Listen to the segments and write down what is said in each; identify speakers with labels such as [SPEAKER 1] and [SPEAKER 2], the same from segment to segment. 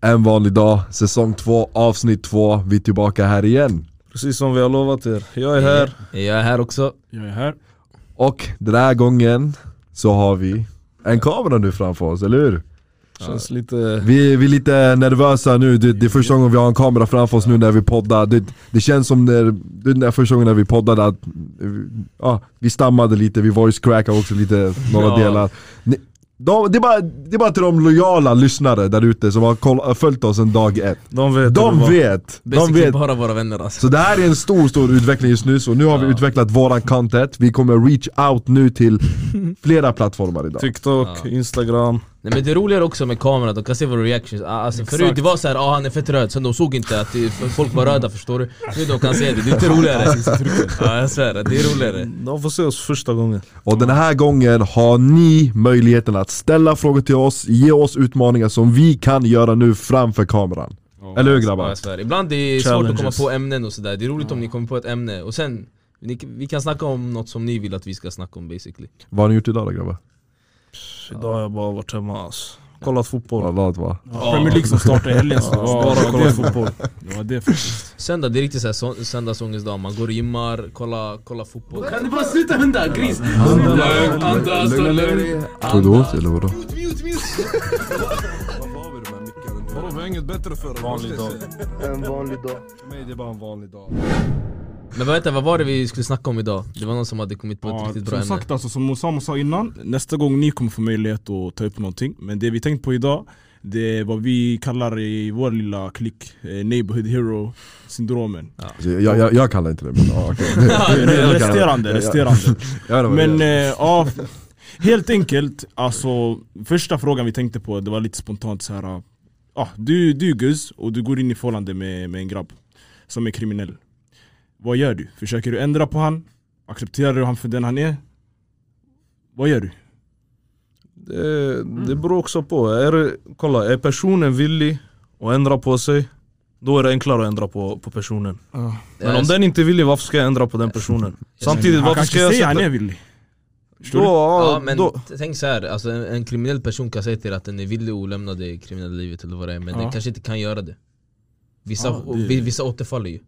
[SPEAKER 1] En vanlig dag, säsong 2, avsnitt 2. Vi är tillbaka här igen.
[SPEAKER 2] Precis som vi har lovat er. Jag är här.
[SPEAKER 3] Jag är här också.
[SPEAKER 4] Jag är här.
[SPEAKER 1] Och den här gången så har vi en kamera nu framför oss, eller hur?
[SPEAKER 2] Känns lite...
[SPEAKER 1] Vi, vi är lite nervösa nu, det, det är första gången vi har en kamera framför oss nu när vi poddar. Det, det känns som när, det är den där första gången när vi poddade att ja, vi stammade lite, vi voice crackade också lite, några
[SPEAKER 3] Ja.
[SPEAKER 1] delar. Ni- De, det, är bara, det är bara till de lojala lyssnare där ute som har koll, följt oss sedan dag ett.
[SPEAKER 2] De vet hur det
[SPEAKER 1] De
[SPEAKER 2] var.
[SPEAKER 1] vet! De
[SPEAKER 3] Basically
[SPEAKER 1] vet!
[SPEAKER 3] bara våra vänner alltså.
[SPEAKER 1] Så det här är en stor, stor utveckling just nu, så nu har vi utvecklat våran content, vi kommer reach out nu till flera plattformar idag.
[SPEAKER 2] TikTok,
[SPEAKER 3] Ja.
[SPEAKER 2] Instagram.
[SPEAKER 3] Nej men det roliga är också med kameran, de kan se våra reactions Ah, alltså, Förut det var såhär, ah, han är fett röd, sen de såg inte att det, för folk var röda förstår du Nu de kan se det, det är lite roligare Ja jag svär, det är roligare
[SPEAKER 2] De får se oss första gången.
[SPEAKER 1] Och den här gången har ni möjligheten att ställa frågor till oss, ge oss utmaningar som vi kan göra nu framför kameran. Eller hur
[SPEAKER 3] Ja,
[SPEAKER 1] grabbar?
[SPEAKER 3] jag svär. Ibland är det svårt att
[SPEAKER 2] Challenges.
[SPEAKER 3] komma på ämnen och sådär, det är roligt om ni kommer på ett ämne och sen ni, vi kan snacka om något som ni vill att vi ska snacka om basically
[SPEAKER 1] Vad har ni gjort idag då grabbar?
[SPEAKER 2] Idag har jag bara varit hemma alltså. Kollat fotboll.
[SPEAKER 1] Vad lat va?
[SPEAKER 4] Ja, Premier League som startar i helgen så.
[SPEAKER 2] Bara kollat fotboll.
[SPEAKER 4] Det var det faktiskt.
[SPEAKER 3] Söndag, det är riktigt såhär så, söndagsångestdag, man går och gymmar, kollar kolla fotboll
[SPEAKER 5] Kan du bara sluta hundar, gris? Andas och lugn.
[SPEAKER 1] Tog du åt eller vadå?
[SPEAKER 2] Vadå, vi har inget bättre för En vanlig dag. En vanlig dag. För mig det är bara en vanlig dag.
[SPEAKER 3] Men vänta, vad var det vi skulle snacka om idag? Det var någon som hade kommit på ett
[SPEAKER 4] Ja,
[SPEAKER 3] riktigt bra
[SPEAKER 4] som
[SPEAKER 3] ämne
[SPEAKER 4] sagt alltså, som Osama sa innan, nästa gång ni kommer få möjlighet att ta upp någonting. Men det vi tänkt på idag, det är vad vi kallar i vår lilla klick, eh, Neighborhood Hero-syndromen.
[SPEAKER 1] Jag, jag, jag kallar inte det men ja, okej.
[SPEAKER 4] resterande, resterande.
[SPEAKER 1] Jag vet inte vad det
[SPEAKER 4] Men eh,
[SPEAKER 1] är.
[SPEAKER 4] ja, helt enkelt, alltså första frågan vi tänkte på det var lite spontant så här. Ja, du, du är Gus och du går in i förhållande med, med en grabb som är kriminell. Vad gör du? Försöker du ändra på han? Accepterar du han för den han är? Vad gör du?
[SPEAKER 2] Eh, Det, det beror också på. Är, det- kolla, är personen villig att ändra på sig, då är det enklare att ändra på, på personen. Men om den inte är villig, varför ska jag ändra på den personen? Samtidigt,
[SPEAKER 4] Han
[SPEAKER 2] varför ska
[SPEAKER 4] kanske
[SPEAKER 2] jag
[SPEAKER 4] säger han
[SPEAKER 2] sätta...
[SPEAKER 4] är villig.
[SPEAKER 2] Då,
[SPEAKER 3] Ja
[SPEAKER 2] ja,
[SPEAKER 3] men
[SPEAKER 2] då,
[SPEAKER 3] t- tänk så här, alltså en, en kriminell person kan säga till er att den är villig att lämna det kriminella livet eller vad det är Men
[SPEAKER 4] Ja.
[SPEAKER 3] den kanske inte kan göra det Vissa,
[SPEAKER 4] Ja,
[SPEAKER 3] och
[SPEAKER 4] det-
[SPEAKER 3] vi- vissa återfaller ju,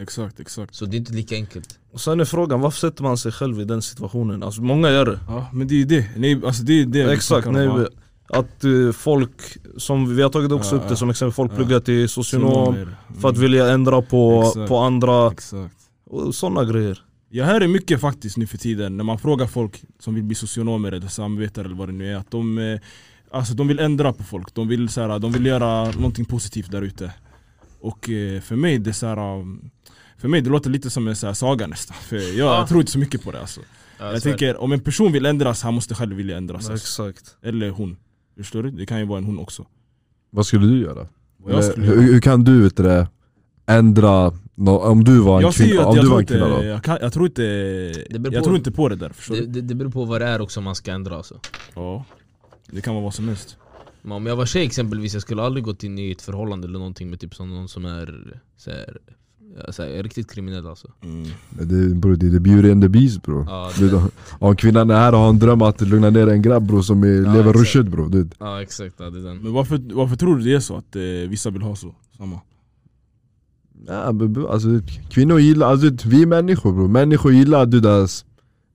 [SPEAKER 4] Exakt, exakt.
[SPEAKER 3] så det är inte lika enkelt
[SPEAKER 2] och sen är frågan, varför sätter man sig själv i den situationen? Alltså många gör det.
[SPEAKER 4] Ja, men det är ju det. Nej, alltså det är det vi
[SPEAKER 2] Exakt,
[SPEAKER 4] snackar
[SPEAKER 2] nej,
[SPEAKER 4] om, va?
[SPEAKER 2] att eh, folk, som vi har tagit också
[SPEAKER 4] Ja,
[SPEAKER 2] upp det
[SPEAKER 4] ja.
[SPEAKER 2] som exempel, folk
[SPEAKER 4] Ja.
[SPEAKER 2] pluggar till socionom
[SPEAKER 4] Synonym.
[SPEAKER 2] för att vilja ändra på,
[SPEAKER 4] Exakt.
[SPEAKER 2] på andra,
[SPEAKER 4] Mm, Exakt.
[SPEAKER 2] och sådana grejer.
[SPEAKER 4] Jag hör det mycket faktiskt nu för tiden när man frågar folk som vill bli socionomer eller samvetare eller vad det nu är att de, eh, alltså, de vill ändra på folk, de vill, så här, de vill göra någonting positivt där ute. Och eh, för mig det är så här, um, för mig det låter lite som en så här saga nästan, för jag
[SPEAKER 3] Ja.
[SPEAKER 4] tror inte så mycket på det alltså. Jag tänker om en person vill ändras, han måste själv vilja ändras. Alltså.
[SPEAKER 2] Exakt.
[SPEAKER 4] Eller hon. Förstår du? Det kan ju vara en hon också.
[SPEAKER 1] Vad skulle du göra?
[SPEAKER 4] Vad jag
[SPEAKER 1] Eller,
[SPEAKER 4] skulle
[SPEAKER 1] hur,
[SPEAKER 4] göra-
[SPEAKER 1] hur kan du vet du, det, ändra, nå- om du var en
[SPEAKER 4] jag ser ju
[SPEAKER 1] kvinna,
[SPEAKER 4] att
[SPEAKER 1] om
[SPEAKER 4] jag
[SPEAKER 1] du var
[SPEAKER 4] tror,
[SPEAKER 1] en
[SPEAKER 4] inte,
[SPEAKER 1] kvinna då?
[SPEAKER 4] jag, kan, jag tror inte,
[SPEAKER 3] beror
[SPEAKER 4] jag
[SPEAKER 3] på-
[SPEAKER 4] tror inte på det där. Förstår
[SPEAKER 3] det,
[SPEAKER 4] du?
[SPEAKER 3] det, det beror på vad det är också man ska ändra alltså.
[SPEAKER 4] Ja. Det kan vara vad som helst.
[SPEAKER 3] Men om jag var tjej exempelvis, jag skulle aldrig gått in i ett förhållande eller någonting med typ som någon som är så här, ja, så här, riktigt kriminell alltså
[SPEAKER 4] Mm.
[SPEAKER 1] Det, bro, det är the beauty and the beast bro.
[SPEAKER 3] Ja,
[SPEAKER 1] Du,
[SPEAKER 3] det,
[SPEAKER 1] då- Om kvinnan är här och har en dröm att lugna ner en grabb bro, som är,
[SPEAKER 3] Ja,
[SPEAKER 1] lever
[SPEAKER 3] exakt.
[SPEAKER 1] ruschigt bro. Du,
[SPEAKER 3] ja exakt, ja, det är den
[SPEAKER 4] Men varför, varför tror du det är så att eh, vissa vill ha så? Samma?
[SPEAKER 1] Ja, men, bro, alltså, kvinnor gillar, alltså, du, vi är människor bro. Människor gillar du, deras,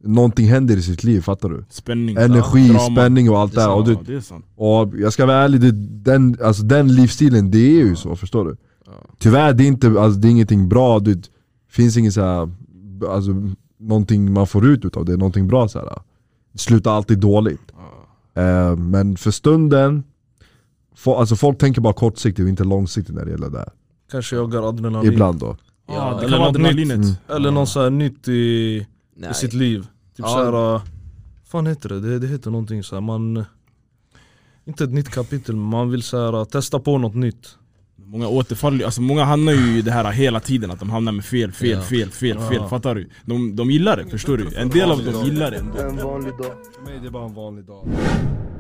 [SPEAKER 1] någonting händer i sitt liv, fattar du?
[SPEAKER 4] Spänning,
[SPEAKER 1] Energi,
[SPEAKER 4] drama.
[SPEAKER 1] spänning och allt det
[SPEAKER 3] Det är
[SPEAKER 1] här.
[SPEAKER 4] Ja,
[SPEAKER 1] Och, du,
[SPEAKER 4] det är sant.
[SPEAKER 1] och jag ska vara ärlig, du, den, alltså, den livsstilen det är ju så, förstår du? Tyvärr, det är, inte, alltså, det är ingenting bra, du, det finns inget så här, alltså, någonting man får ut utav det, någonting bra så här. Det slutar alltid dåligt. Eh, men för stunden, fo- alltså folk tänker bara kortsiktigt och inte långsiktigt när det gäller det här.
[SPEAKER 2] Kanske jagar adrenalin.
[SPEAKER 1] Ibland då.
[SPEAKER 4] Ja,
[SPEAKER 3] Ja,
[SPEAKER 4] det
[SPEAKER 2] eller
[SPEAKER 4] kan vara
[SPEAKER 2] något
[SPEAKER 4] adrenalinet.
[SPEAKER 1] nytt.
[SPEAKER 2] Eller någon så här nytt i,
[SPEAKER 3] Nej.
[SPEAKER 2] i sitt liv. Typ
[SPEAKER 3] Ja.
[SPEAKER 2] såhär, vad fan heter det? det? Det heter någonting så här, man... Inte ett nytt kapitel, men man vill så här, testa på något nytt.
[SPEAKER 4] Många återfaller alltså många hamnar ju i det här hela tiden, att de hamnar med fel, fel,
[SPEAKER 3] Ja.
[SPEAKER 4] fel, fel, fel,
[SPEAKER 2] Ja.
[SPEAKER 4] fattar du? De, de gillar det, förstår du? En del av dem gillar det ändå.
[SPEAKER 1] För mig det är bara en vanlig dag.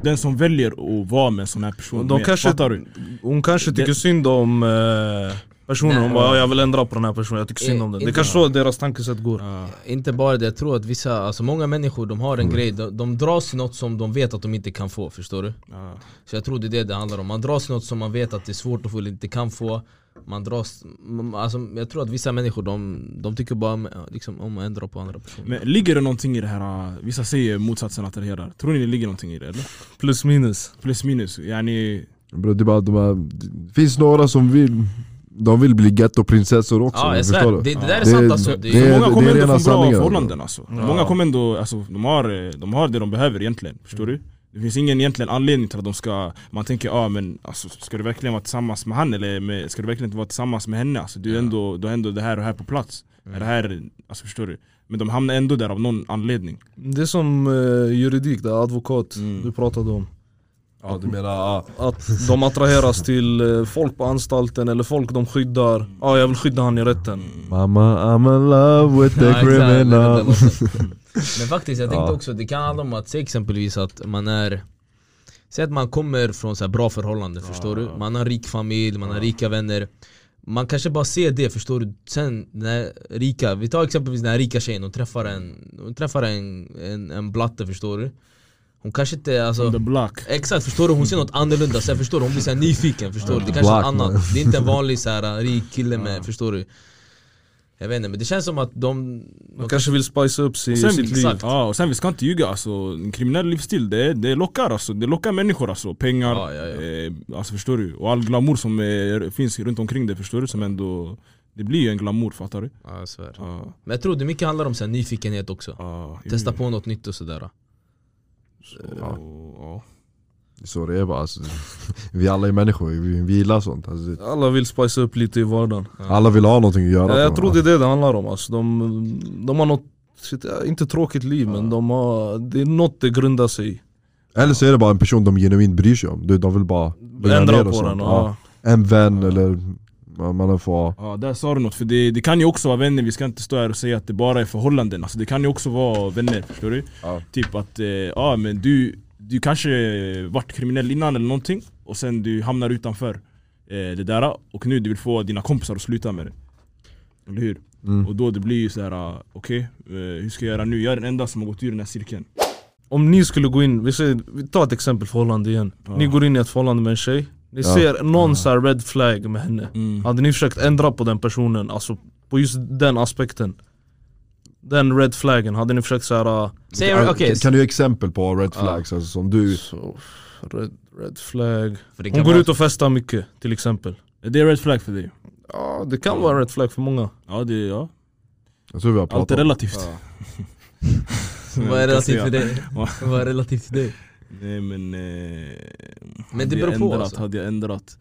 [SPEAKER 4] Den som väljer att vara med en sån här person,
[SPEAKER 2] De
[SPEAKER 4] med,
[SPEAKER 2] kanske-
[SPEAKER 4] fattar du?
[SPEAKER 2] Hon kanske tycker
[SPEAKER 4] Det-
[SPEAKER 2] synd om eh, personen, hon
[SPEAKER 3] Nej.
[SPEAKER 2] bara "Ja, jag vill ändra på den här personen, jag tycker synd om den. Det är
[SPEAKER 3] Inte-
[SPEAKER 2] kanske så deras tankesätt går.
[SPEAKER 3] Eh, Inte bara det, jag tror att vissa, alltså många människor de har en grej, de, de dras till något som de vet att de inte kan få, förstår du?
[SPEAKER 4] Ja.
[SPEAKER 3] Så jag tror det är det det handlar om, man dras till något som man vet att det är svårt att få eller inte kan få man dras, man- alltså, jag tror att vissa människor de, de tycker bara om- liksom, om att ändra på andra personer
[SPEAKER 4] Men ligger det någonting i det här, uh, vissa säger motsatsen attraherar. Tror ni det ligger någonting i det eller?
[SPEAKER 2] Plus minus.
[SPEAKER 4] Plus minus, yani...
[SPEAKER 1] Bro, det, är bara, de bara, det finns några som vill, de vill bli ghettoprinsessor också,
[SPEAKER 3] Ja jag
[SPEAKER 1] förstår
[SPEAKER 3] svär,
[SPEAKER 1] du?
[SPEAKER 3] det, det där
[SPEAKER 1] Det-
[SPEAKER 3] är sant alltså det,
[SPEAKER 1] det-
[SPEAKER 3] är,
[SPEAKER 4] Många
[SPEAKER 1] det
[SPEAKER 4] kommer
[SPEAKER 1] är
[SPEAKER 4] ändå
[SPEAKER 1] rena
[SPEAKER 4] från bra
[SPEAKER 1] sanningar,
[SPEAKER 4] förhållanden alltså.
[SPEAKER 2] Ja.
[SPEAKER 4] Många kommer ändå, alltså, de, har, eh, de har det de behöver egentligen, förstår du? Det finns ingen egentligen anledning till att de ska, man tänker ja ah, men alltså, ska du verkligen vara tillsammans med han eller med, ska du verkligen inte vara tillsammans med henne? Alltså, du, är ändå, du har ändå det här och här på plats. Är Det här, alltså, förstår du? Men de hamnar ändå där av någon anledning.
[SPEAKER 2] Det är som eh, juridik, det är advokat
[SPEAKER 4] Mm.
[SPEAKER 2] du pratade om.
[SPEAKER 1] Ja, du menar, ja.
[SPEAKER 2] Att de attraheras till eh, folk på anstalten eller folk de skyddar. Ja, jag vill skydda han i rätten.
[SPEAKER 1] Mamma I'm in love with the
[SPEAKER 3] Ja, exakt, det är den där
[SPEAKER 1] criminal
[SPEAKER 3] låten. Men faktiskt jag
[SPEAKER 1] Ja.
[SPEAKER 3] tänkte också, det kan handla om att säg exempelvis att man är Säg att man kommer från så här bra förhållanden förstår du, man har en rik familj, man har rika vänner Man kanske bara ser det förstår du, sen när rika, vi tar exempelvis den här rika tjejen, hon träffar en, hon träffar en, en, en blatte förstår du Hon kanske inte alltså
[SPEAKER 4] The block.
[SPEAKER 3] Exakt, förstår du? Hon ser något annorlunda, sen förstår du? Hon blir så här nyfiken, förstår du? Det kanske är något
[SPEAKER 1] Black man.
[SPEAKER 3] annat, det är inte en vanlig så här, äh, rik kille med, förstår du? Jag vet inte, men det känns som att de...
[SPEAKER 2] De kanske vill spicea upp si,
[SPEAKER 4] Sen,
[SPEAKER 2] sitt liv.
[SPEAKER 3] exakt.
[SPEAKER 4] Ja, och sen vi ska inte ljuga, alltså, en kriminell livsstil det, det lockar alltså, det lockar människor alltså, pengar,
[SPEAKER 3] Ja, ja, ja.
[SPEAKER 4] Eh, alltså förstår du? Och all glamour som eh, finns runt omkring det förstår du, som ändå, det blir ju en glamour fattar du?
[SPEAKER 3] Ja, jag svär.
[SPEAKER 4] Ja,
[SPEAKER 3] Men jag tror det mycket handlar om så här, nyfikenhet också.
[SPEAKER 4] ja, jo,
[SPEAKER 3] Testa
[SPEAKER 4] jo.
[SPEAKER 3] på något nytt och sådär.
[SPEAKER 4] Så, ja.
[SPEAKER 1] Så det är bara, alltså, vi alla är människor, vi, vi gillar sånt alltså, det-
[SPEAKER 2] Alla vill spicea upp lite i vardagen.
[SPEAKER 1] Alla vill ha någonting att göra
[SPEAKER 2] Ja, jag
[SPEAKER 1] på.
[SPEAKER 2] tror det är det det handlar om alltså. de, de har något, shit, ja, inte tråkigt liv men de har, det är något det grundar sig i.
[SPEAKER 1] Eller så är det bara en person de genuint bryr sig om, Du, de vill bara lägga
[SPEAKER 2] Ändra
[SPEAKER 1] ner
[SPEAKER 2] på
[SPEAKER 1] och
[SPEAKER 2] den.
[SPEAKER 1] sånt.
[SPEAKER 2] Ja.
[SPEAKER 1] En vän eller man, man får
[SPEAKER 4] ja, där sa du något, för det, det kan ju också vara vänner, vi ska inte stå här och säga att det bara är förhållanden, alltså det kan ju också vara vänner, förstår du?
[SPEAKER 1] Ja.
[SPEAKER 4] Typ att, eh, ja men du, du kanske varit kriminell innan eller någonting, och sen du hamnar utanför eh, det där, och nu du vill få dina kompisar att sluta med det. Eller hur?
[SPEAKER 1] Mm.
[SPEAKER 4] Och då det blir ju så här, ah, okej, eh, hur ska jag göra nu? Jag är den enda som har gått ur den här cirkeln.
[SPEAKER 2] Om ni skulle gå in, vi, säger, vi tar ett exempel förhållande igen.
[SPEAKER 4] Ja.
[SPEAKER 2] Ni går in i ett förhållande med en tjej, ni ser någon så här red flag med henne.
[SPEAKER 4] Mm.
[SPEAKER 2] Hade ni försökt ändra på den personen, alltså på just den aspekten. Den red flaggen, hade ni försökt ah, såhär...
[SPEAKER 3] Säg okej,
[SPEAKER 1] kan, kan du ge exempel på red flags alltså, som du...
[SPEAKER 2] Så, red, red flag.
[SPEAKER 3] för det kan
[SPEAKER 2] Hon går
[SPEAKER 3] vara-
[SPEAKER 2] ut och festar mycket till exempel.
[SPEAKER 4] Är det red flag för dig?
[SPEAKER 2] Ja det kan vara en red flag för många.
[SPEAKER 4] Ja, det, ja.
[SPEAKER 1] Jag tror vi har pratat
[SPEAKER 4] allt är
[SPEAKER 1] om
[SPEAKER 4] relativt.
[SPEAKER 3] Vad är
[SPEAKER 4] Jag kan
[SPEAKER 3] relativt
[SPEAKER 4] säga.
[SPEAKER 3] för dig?
[SPEAKER 4] Ja.
[SPEAKER 3] Vad är relativt för dig?
[SPEAKER 4] Nej men... Eh,
[SPEAKER 3] Men det
[SPEAKER 4] hade jag
[SPEAKER 3] beror på,
[SPEAKER 4] ändrat,
[SPEAKER 3] alltså.
[SPEAKER 4] Hade jag ändrat?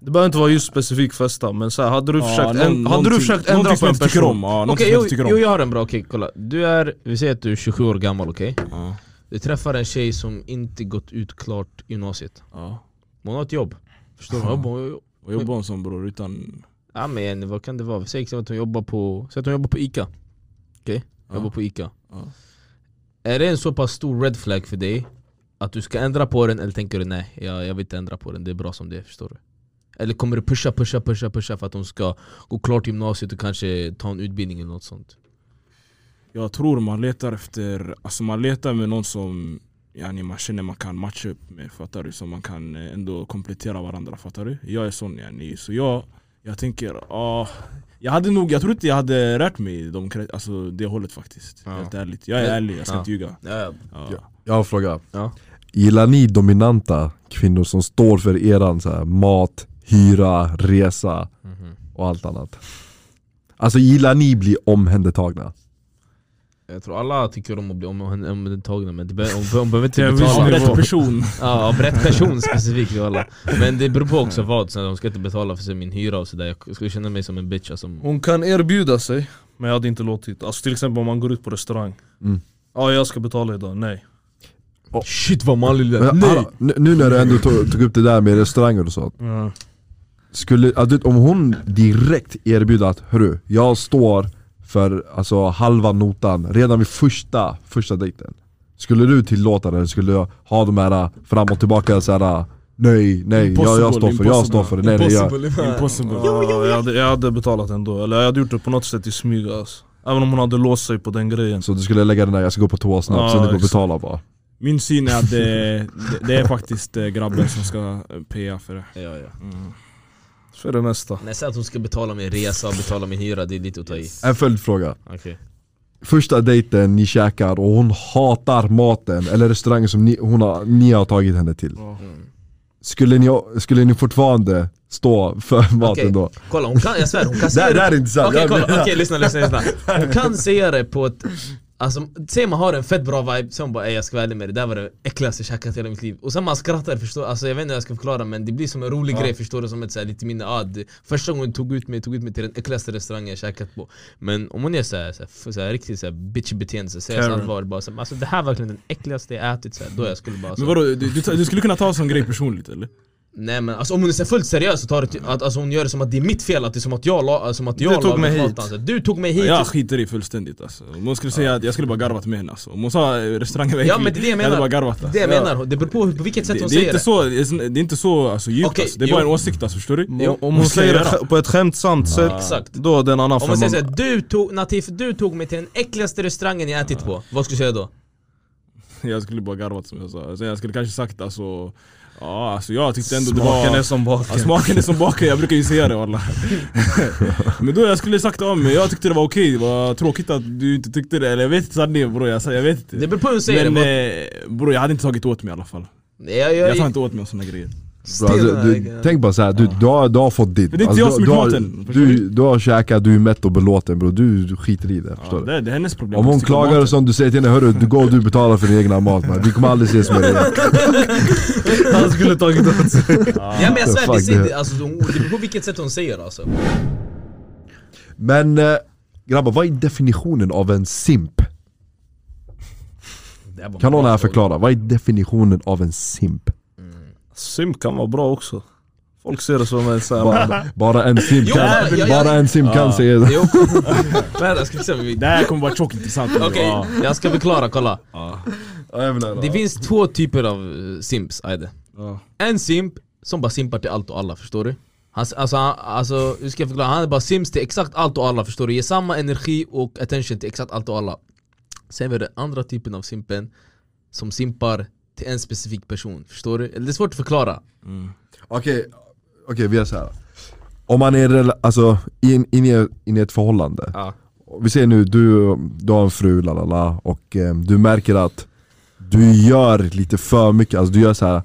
[SPEAKER 2] Det behöver inte vara just specifik festa men så här, hade du
[SPEAKER 4] Ja,
[SPEAKER 2] försökt,
[SPEAKER 4] någon-
[SPEAKER 2] en, hade du
[SPEAKER 4] någonting-
[SPEAKER 2] försökt ändra
[SPEAKER 4] någonting
[SPEAKER 2] på en
[SPEAKER 4] som jag inte tycker om,
[SPEAKER 2] person?
[SPEAKER 4] ja, någonting
[SPEAKER 3] Okej,
[SPEAKER 4] som jag
[SPEAKER 3] jo,
[SPEAKER 4] inte tycker om.
[SPEAKER 3] jo jag har en bra, okej kolla. Du är, vi säger att du är 27 år gammal okej?
[SPEAKER 4] Ja,
[SPEAKER 3] Du träffar en tjej som inte gått ut klart gymnasiet.
[SPEAKER 4] ja.
[SPEAKER 3] Hon har ett jobb. Förstår du? Hon har jobb-
[SPEAKER 4] Och jobba en sån bror utan...
[SPEAKER 3] Ja men vad kan det vara? Säg exempelvis att hon jobbar på, säg att hon jobbar på ICA Okej?
[SPEAKER 4] Ja.
[SPEAKER 3] Jobbar på ICA
[SPEAKER 4] Ja.
[SPEAKER 3] Är det en så pass stor red flag för dig att du ska ändra på den eller tänker du nej, jag, jag vill inte ändra på den, det är bra som det är, förstår du? Eller kommer du pusha, pusha, pusha, pusha för att hon ska gå klart gymnasiet och kanske ta en utbildning eller något sånt?
[SPEAKER 4] Jag tror man letar efter, alltså man letar med någon som yani man känner man kan matcha upp med, fattar du? Så man kan eh, ändå komplettera varandra, fattar du? Jag är sån yani, så jag, jag tänker, ah, jag hade nog, jag tror inte jag hade rört mig i de, kre- alltså, det hållet faktiskt. Helt ärligt, jag är
[SPEAKER 3] Men-
[SPEAKER 4] ärlig, jag ska
[SPEAKER 3] Ja.
[SPEAKER 4] inte ljuga.
[SPEAKER 3] Ja,
[SPEAKER 4] Ja.
[SPEAKER 1] Ja. Jag har en fråga.
[SPEAKER 3] Ja.
[SPEAKER 1] Gillar ni dominanta kvinnor som står för eran så här, mat, hyra, resa och allt annat? Alltså gillar ni bli omhändertagna?
[SPEAKER 3] jag tror alla tycker om att bli om- om- omhändertagna men det be- om- om behöver
[SPEAKER 2] Till
[SPEAKER 3] inte
[SPEAKER 2] en viss
[SPEAKER 3] betala
[SPEAKER 4] Av
[SPEAKER 2] nivå.
[SPEAKER 4] rätt person.
[SPEAKER 3] Ja, av rätt person specifikt alla. Men det beror på också vad, så de ska inte betala för sig min hyra och sådär Jag skulle känna mig som en bitch alltså.
[SPEAKER 2] Hon kan erbjuda sig, men jag hade inte låtit. Alltså till exempel om man går ut på restaurang.
[SPEAKER 1] Mm.
[SPEAKER 2] Ja jag ska betala idag, nej.
[SPEAKER 3] Shit vad manlig du
[SPEAKER 1] Men, hallå, nu- nu när du ändå tog, tog upp det där med restauranger och sånt. Skulle, alltså, om hon direkt erbjuder att hörru, jag står för alltså, halva notan redan vid första, första dejten. Skulle du tillåta det? Skulle du ha de här fram och äh, tillbaka så här, Nej, nej, jag, jag står för, jag står för det. Nej, nej, jag,
[SPEAKER 3] Impossible. man.
[SPEAKER 4] Impossible.
[SPEAKER 2] Ja, jag, hade, jag hade betalat ändå, eller jag hade gjort det på något sätt i smyg alltså. Även om hon hade låst sig på den grejen.
[SPEAKER 1] så du skulle lägga den där, jag ska gå på toa snabbt,
[SPEAKER 2] Ja,
[SPEAKER 1] sen du går och
[SPEAKER 2] exakt.
[SPEAKER 1] betala bara.
[SPEAKER 4] Min syn är att det, det, det är faktiskt eh, grabben som ska eh, PA för det.
[SPEAKER 3] Ja, ja.
[SPEAKER 2] För det mesta.
[SPEAKER 3] Nej, säg att hon ska betala min resa och betala min hyra, det är lite att ta i.
[SPEAKER 1] En följdfråga.
[SPEAKER 3] Okej.
[SPEAKER 1] Första dejten, ni käkar och hon hatar maten eller restaurangen som ni, hon har, ni har tagit henne till. Skulle, ni, skulle ni fortfarande stå för maten
[SPEAKER 3] Okej,
[SPEAKER 1] då?
[SPEAKER 3] Kolla, hon kan, jag svär, hon kan
[SPEAKER 1] Det
[SPEAKER 3] säga
[SPEAKER 1] här, det
[SPEAKER 3] det.
[SPEAKER 1] här är intressant.
[SPEAKER 3] Okej,
[SPEAKER 1] Jag
[SPEAKER 3] kolla,
[SPEAKER 1] menar-
[SPEAKER 3] okej lyssna, lyssna, lyssna. Hon kan säga det på ett... Alltså, säg man har en fett bra vibe, sen bara "Ey, jag ska vara ärlig med dig, det där var det äckligaste jag käkat i hela mitt liv. Och sen man skrattar, förstår Alltså jag vet inte hur jag ska förklara men det blir som en rolig grej, förstår du? Som ett så här, lite minne, ah, det, första gången du tog ut mig, tog ut mig till den äckligaste restaurangen jag käkat på. Men om hon gör såhär, så här, f- så här, riktigt så här bitch-beteende, så säger jag
[SPEAKER 2] Karen.
[SPEAKER 3] allvar bara så här, alltså det här var verkligen den äckligaste jag ätit, så här, då jag skulle bara så,
[SPEAKER 4] Men vadå, du, du, tar- du skulle kunna ta en sån grej personligt eller?
[SPEAKER 3] Nej men alltså, om hon är så fullt seriös så tar det till, att, alltså, hon gör det som att det är mitt fel, att det är som att jag la, alltså, som att jag
[SPEAKER 2] Du tog
[SPEAKER 3] lagar
[SPEAKER 2] mig hit.
[SPEAKER 3] maten. Så här, Du tog mig hit!
[SPEAKER 4] Jag skiter i fullständigt alltså. Om hon skulle säga att jag skulle bara garvat med henne alltså. Om hon sa eh, restaurangen var
[SPEAKER 3] Ja,
[SPEAKER 4] äcklig,
[SPEAKER 3] men det är det jag
[SPEAKER 4] hade
[SPEAKER 3] menar.
[SPEAKER 4] bara garvat alltså.
[SPEAKER 3] Det jag
[SPEAKER 4] Ja.
[SPEAKER 3] menar, det beror på hur- på vilket sätt
[SPEAKER 4] Det,
[SPEAKER 3] hon
[SPEAKER 4] det, är
[SPEAKER 3] säger
[SPEAKER 4] inte
[SPEAKER 3] det.
[SPEAKER 4] så, det är- det är inte så alltså, djupt
[SPEAKER 3] Okej,
[SPEAKER 4] alltså. Det är bara
[SPEAKER 3] jo.
[SPEAKER 4] en åsikt alltså, förstår du?
[SPEAKER 2] Om om
[SPEAKER 4] Vad
[SPEAKER 2] hon
[SPEAKER 4] ska
[SPEAKER 2] säger
[SPEAKER 4] jag
[SPEAKER 2] det
[SPEAKER 4] göra?
[SPEAKER 2] sk- på ett skämtsamt sätt,
[SPEAKER 3] Exakt.
[SPEAKER 2] då är det en annan
[SPEAKER 3] Om man säger
[SPEAKER 2] femma.
[SPEAKER 3] såhär, du tog, Natif, du tog mig till den äckligaste restaurangen jag ätit på, vad skulle du säga då?
[SPEAKER 4] Jag skulle bara garvat som jag sa. Sen jag skulle kanske sagt alltså, ja alltså jag tyckte ändå det
[SPEAKER 2] Smaken
[SPEAKER 4] var...
[SPEAKER 2] är som
[SPEAKER 4] Ja,
[SPEAKER 2] baken.
[SPEAKER 4] smaken är som baken, jag brukar ju säga det walla. Men då jag skulle sagt om mig, jag tyckte det var okej, det var tråkigt att du inte tyckte det. Eller jag vet inte sanningen bror, jag, sa- jag vet inte.
[SPEAKER 3] Det beror på hur hon säger
[SPEAKER 4] Men
[SPEAKER 3] det,
[SPEAKER 4] eh, bror jag hade inte tagit åt mig i alla fall.
[SPEAKER 3] vad- jag,
[SPEAKER 4] Jag
[SPEAKER 3] jag,
[SPEAKER 4] tar inte åt mig om såna grejer.
[SPEAKER 1] Bra, Alltså, du, du,
[SPEAKER 3] stenhög.
[SPEAKER 1] tänk bara såhär, du, du, har, du har fått ditt. Alltså,
[SPEAKER 4] Men det är inte jag som
[SPEAKER 1] du,
[SPEAKER 4] gjort
[SPEAKER 1] du, har,
[SPEAKER 4] maten, förstår
[SPEAKER 1] du, du har käkat, du är mätt och belåten bro. Du, du skiter i det.
[SPEAKER 4] Ja,
[SPEAKER 1] Förstår du?
[SPEAKER 4] det, det är hennes problem.
[SPEAKER 1] Om hon
[SPEAKER 4] Tycker om
[SPEAKER 1] klagar
[SPEAKER 4] maten.
[SPEAKER 1] och sånt, du säger till henne hörru, du går och du betalar för din egna mat man. Vi kommer aldrig ses med dig.
[SPEAKER 2] Han skulle tagit åt sig.
[SPEAKER 3] Ja men jag svär, vi
[SPEAKER 1] Fuck
[SPEAKER 3] säger
[SPEAKER 1] det.
[SPEAKER 3] det, alltså, hon- det beror på vilket sätt hon säger det, alltså.
[SPEAKER 1] Men eh, grabbar, vad är definitionen av en simp?
[SPEAKER 3] Det här var en
[SPEAKER 1] Kan någon
[SPEAKER 3] bra
[SPEAKER 1] här
[SPEAKER 3] fråga.
[SPEAKER 1] förklara? Vad är definitionen av en simp?
[SPEAKER 2] Sim kan vara bra också. Folk ser det som en såhär...
[SPEAKER 1] Bara, bara en simp
[SPEAKER 3] Jo,
[SPEAKER 1] kan,
[SPEAKER 3] ja, ja, ja.
[SPEAKER 1] bara en simp kan säga det.
[SPEAKER 3] Jo, vänta jag ska se om vi...
[SPEAKER 4] Det här kommer vara tråkigt intressant.
[SPEAKER 3] Okej,
[SPEAKER 4] Ja.
[SPEAKER 3] jag ska förklara, kolla.
[SPEAKER 1] Ja, jag menar,
[SPEAKER 3] Det
[SPEAKER 1] ja.
[SPEAKER 3] finns två typer av eh, simps, Aide.
[SPEAKER 4] Ja.
[SPEAKER 3] En simp som bara simpar till allt och alla, förstår du? Han, alltså, han, alltså, hur ska jag förklara? Han är bara sims till exakt allt och alla, förstår du? Ger samma energi och attention till exakt allt och alla. Sen har vi den andra typen av simpen som simpar till en specifik person, förstår du? Eller Det är svårt att förklara.
[SPEAKER 1] Okej, okej vi gör så här. Om man är rela- alltså, in, in, i, in i ett förhållande.
[SPEAKER 3] Ja.
[SPEAKER 1] Vi säger nu, du, du har en fru, lalala, och eh, du märker att du gör lite för mycket, alltså du gör så här.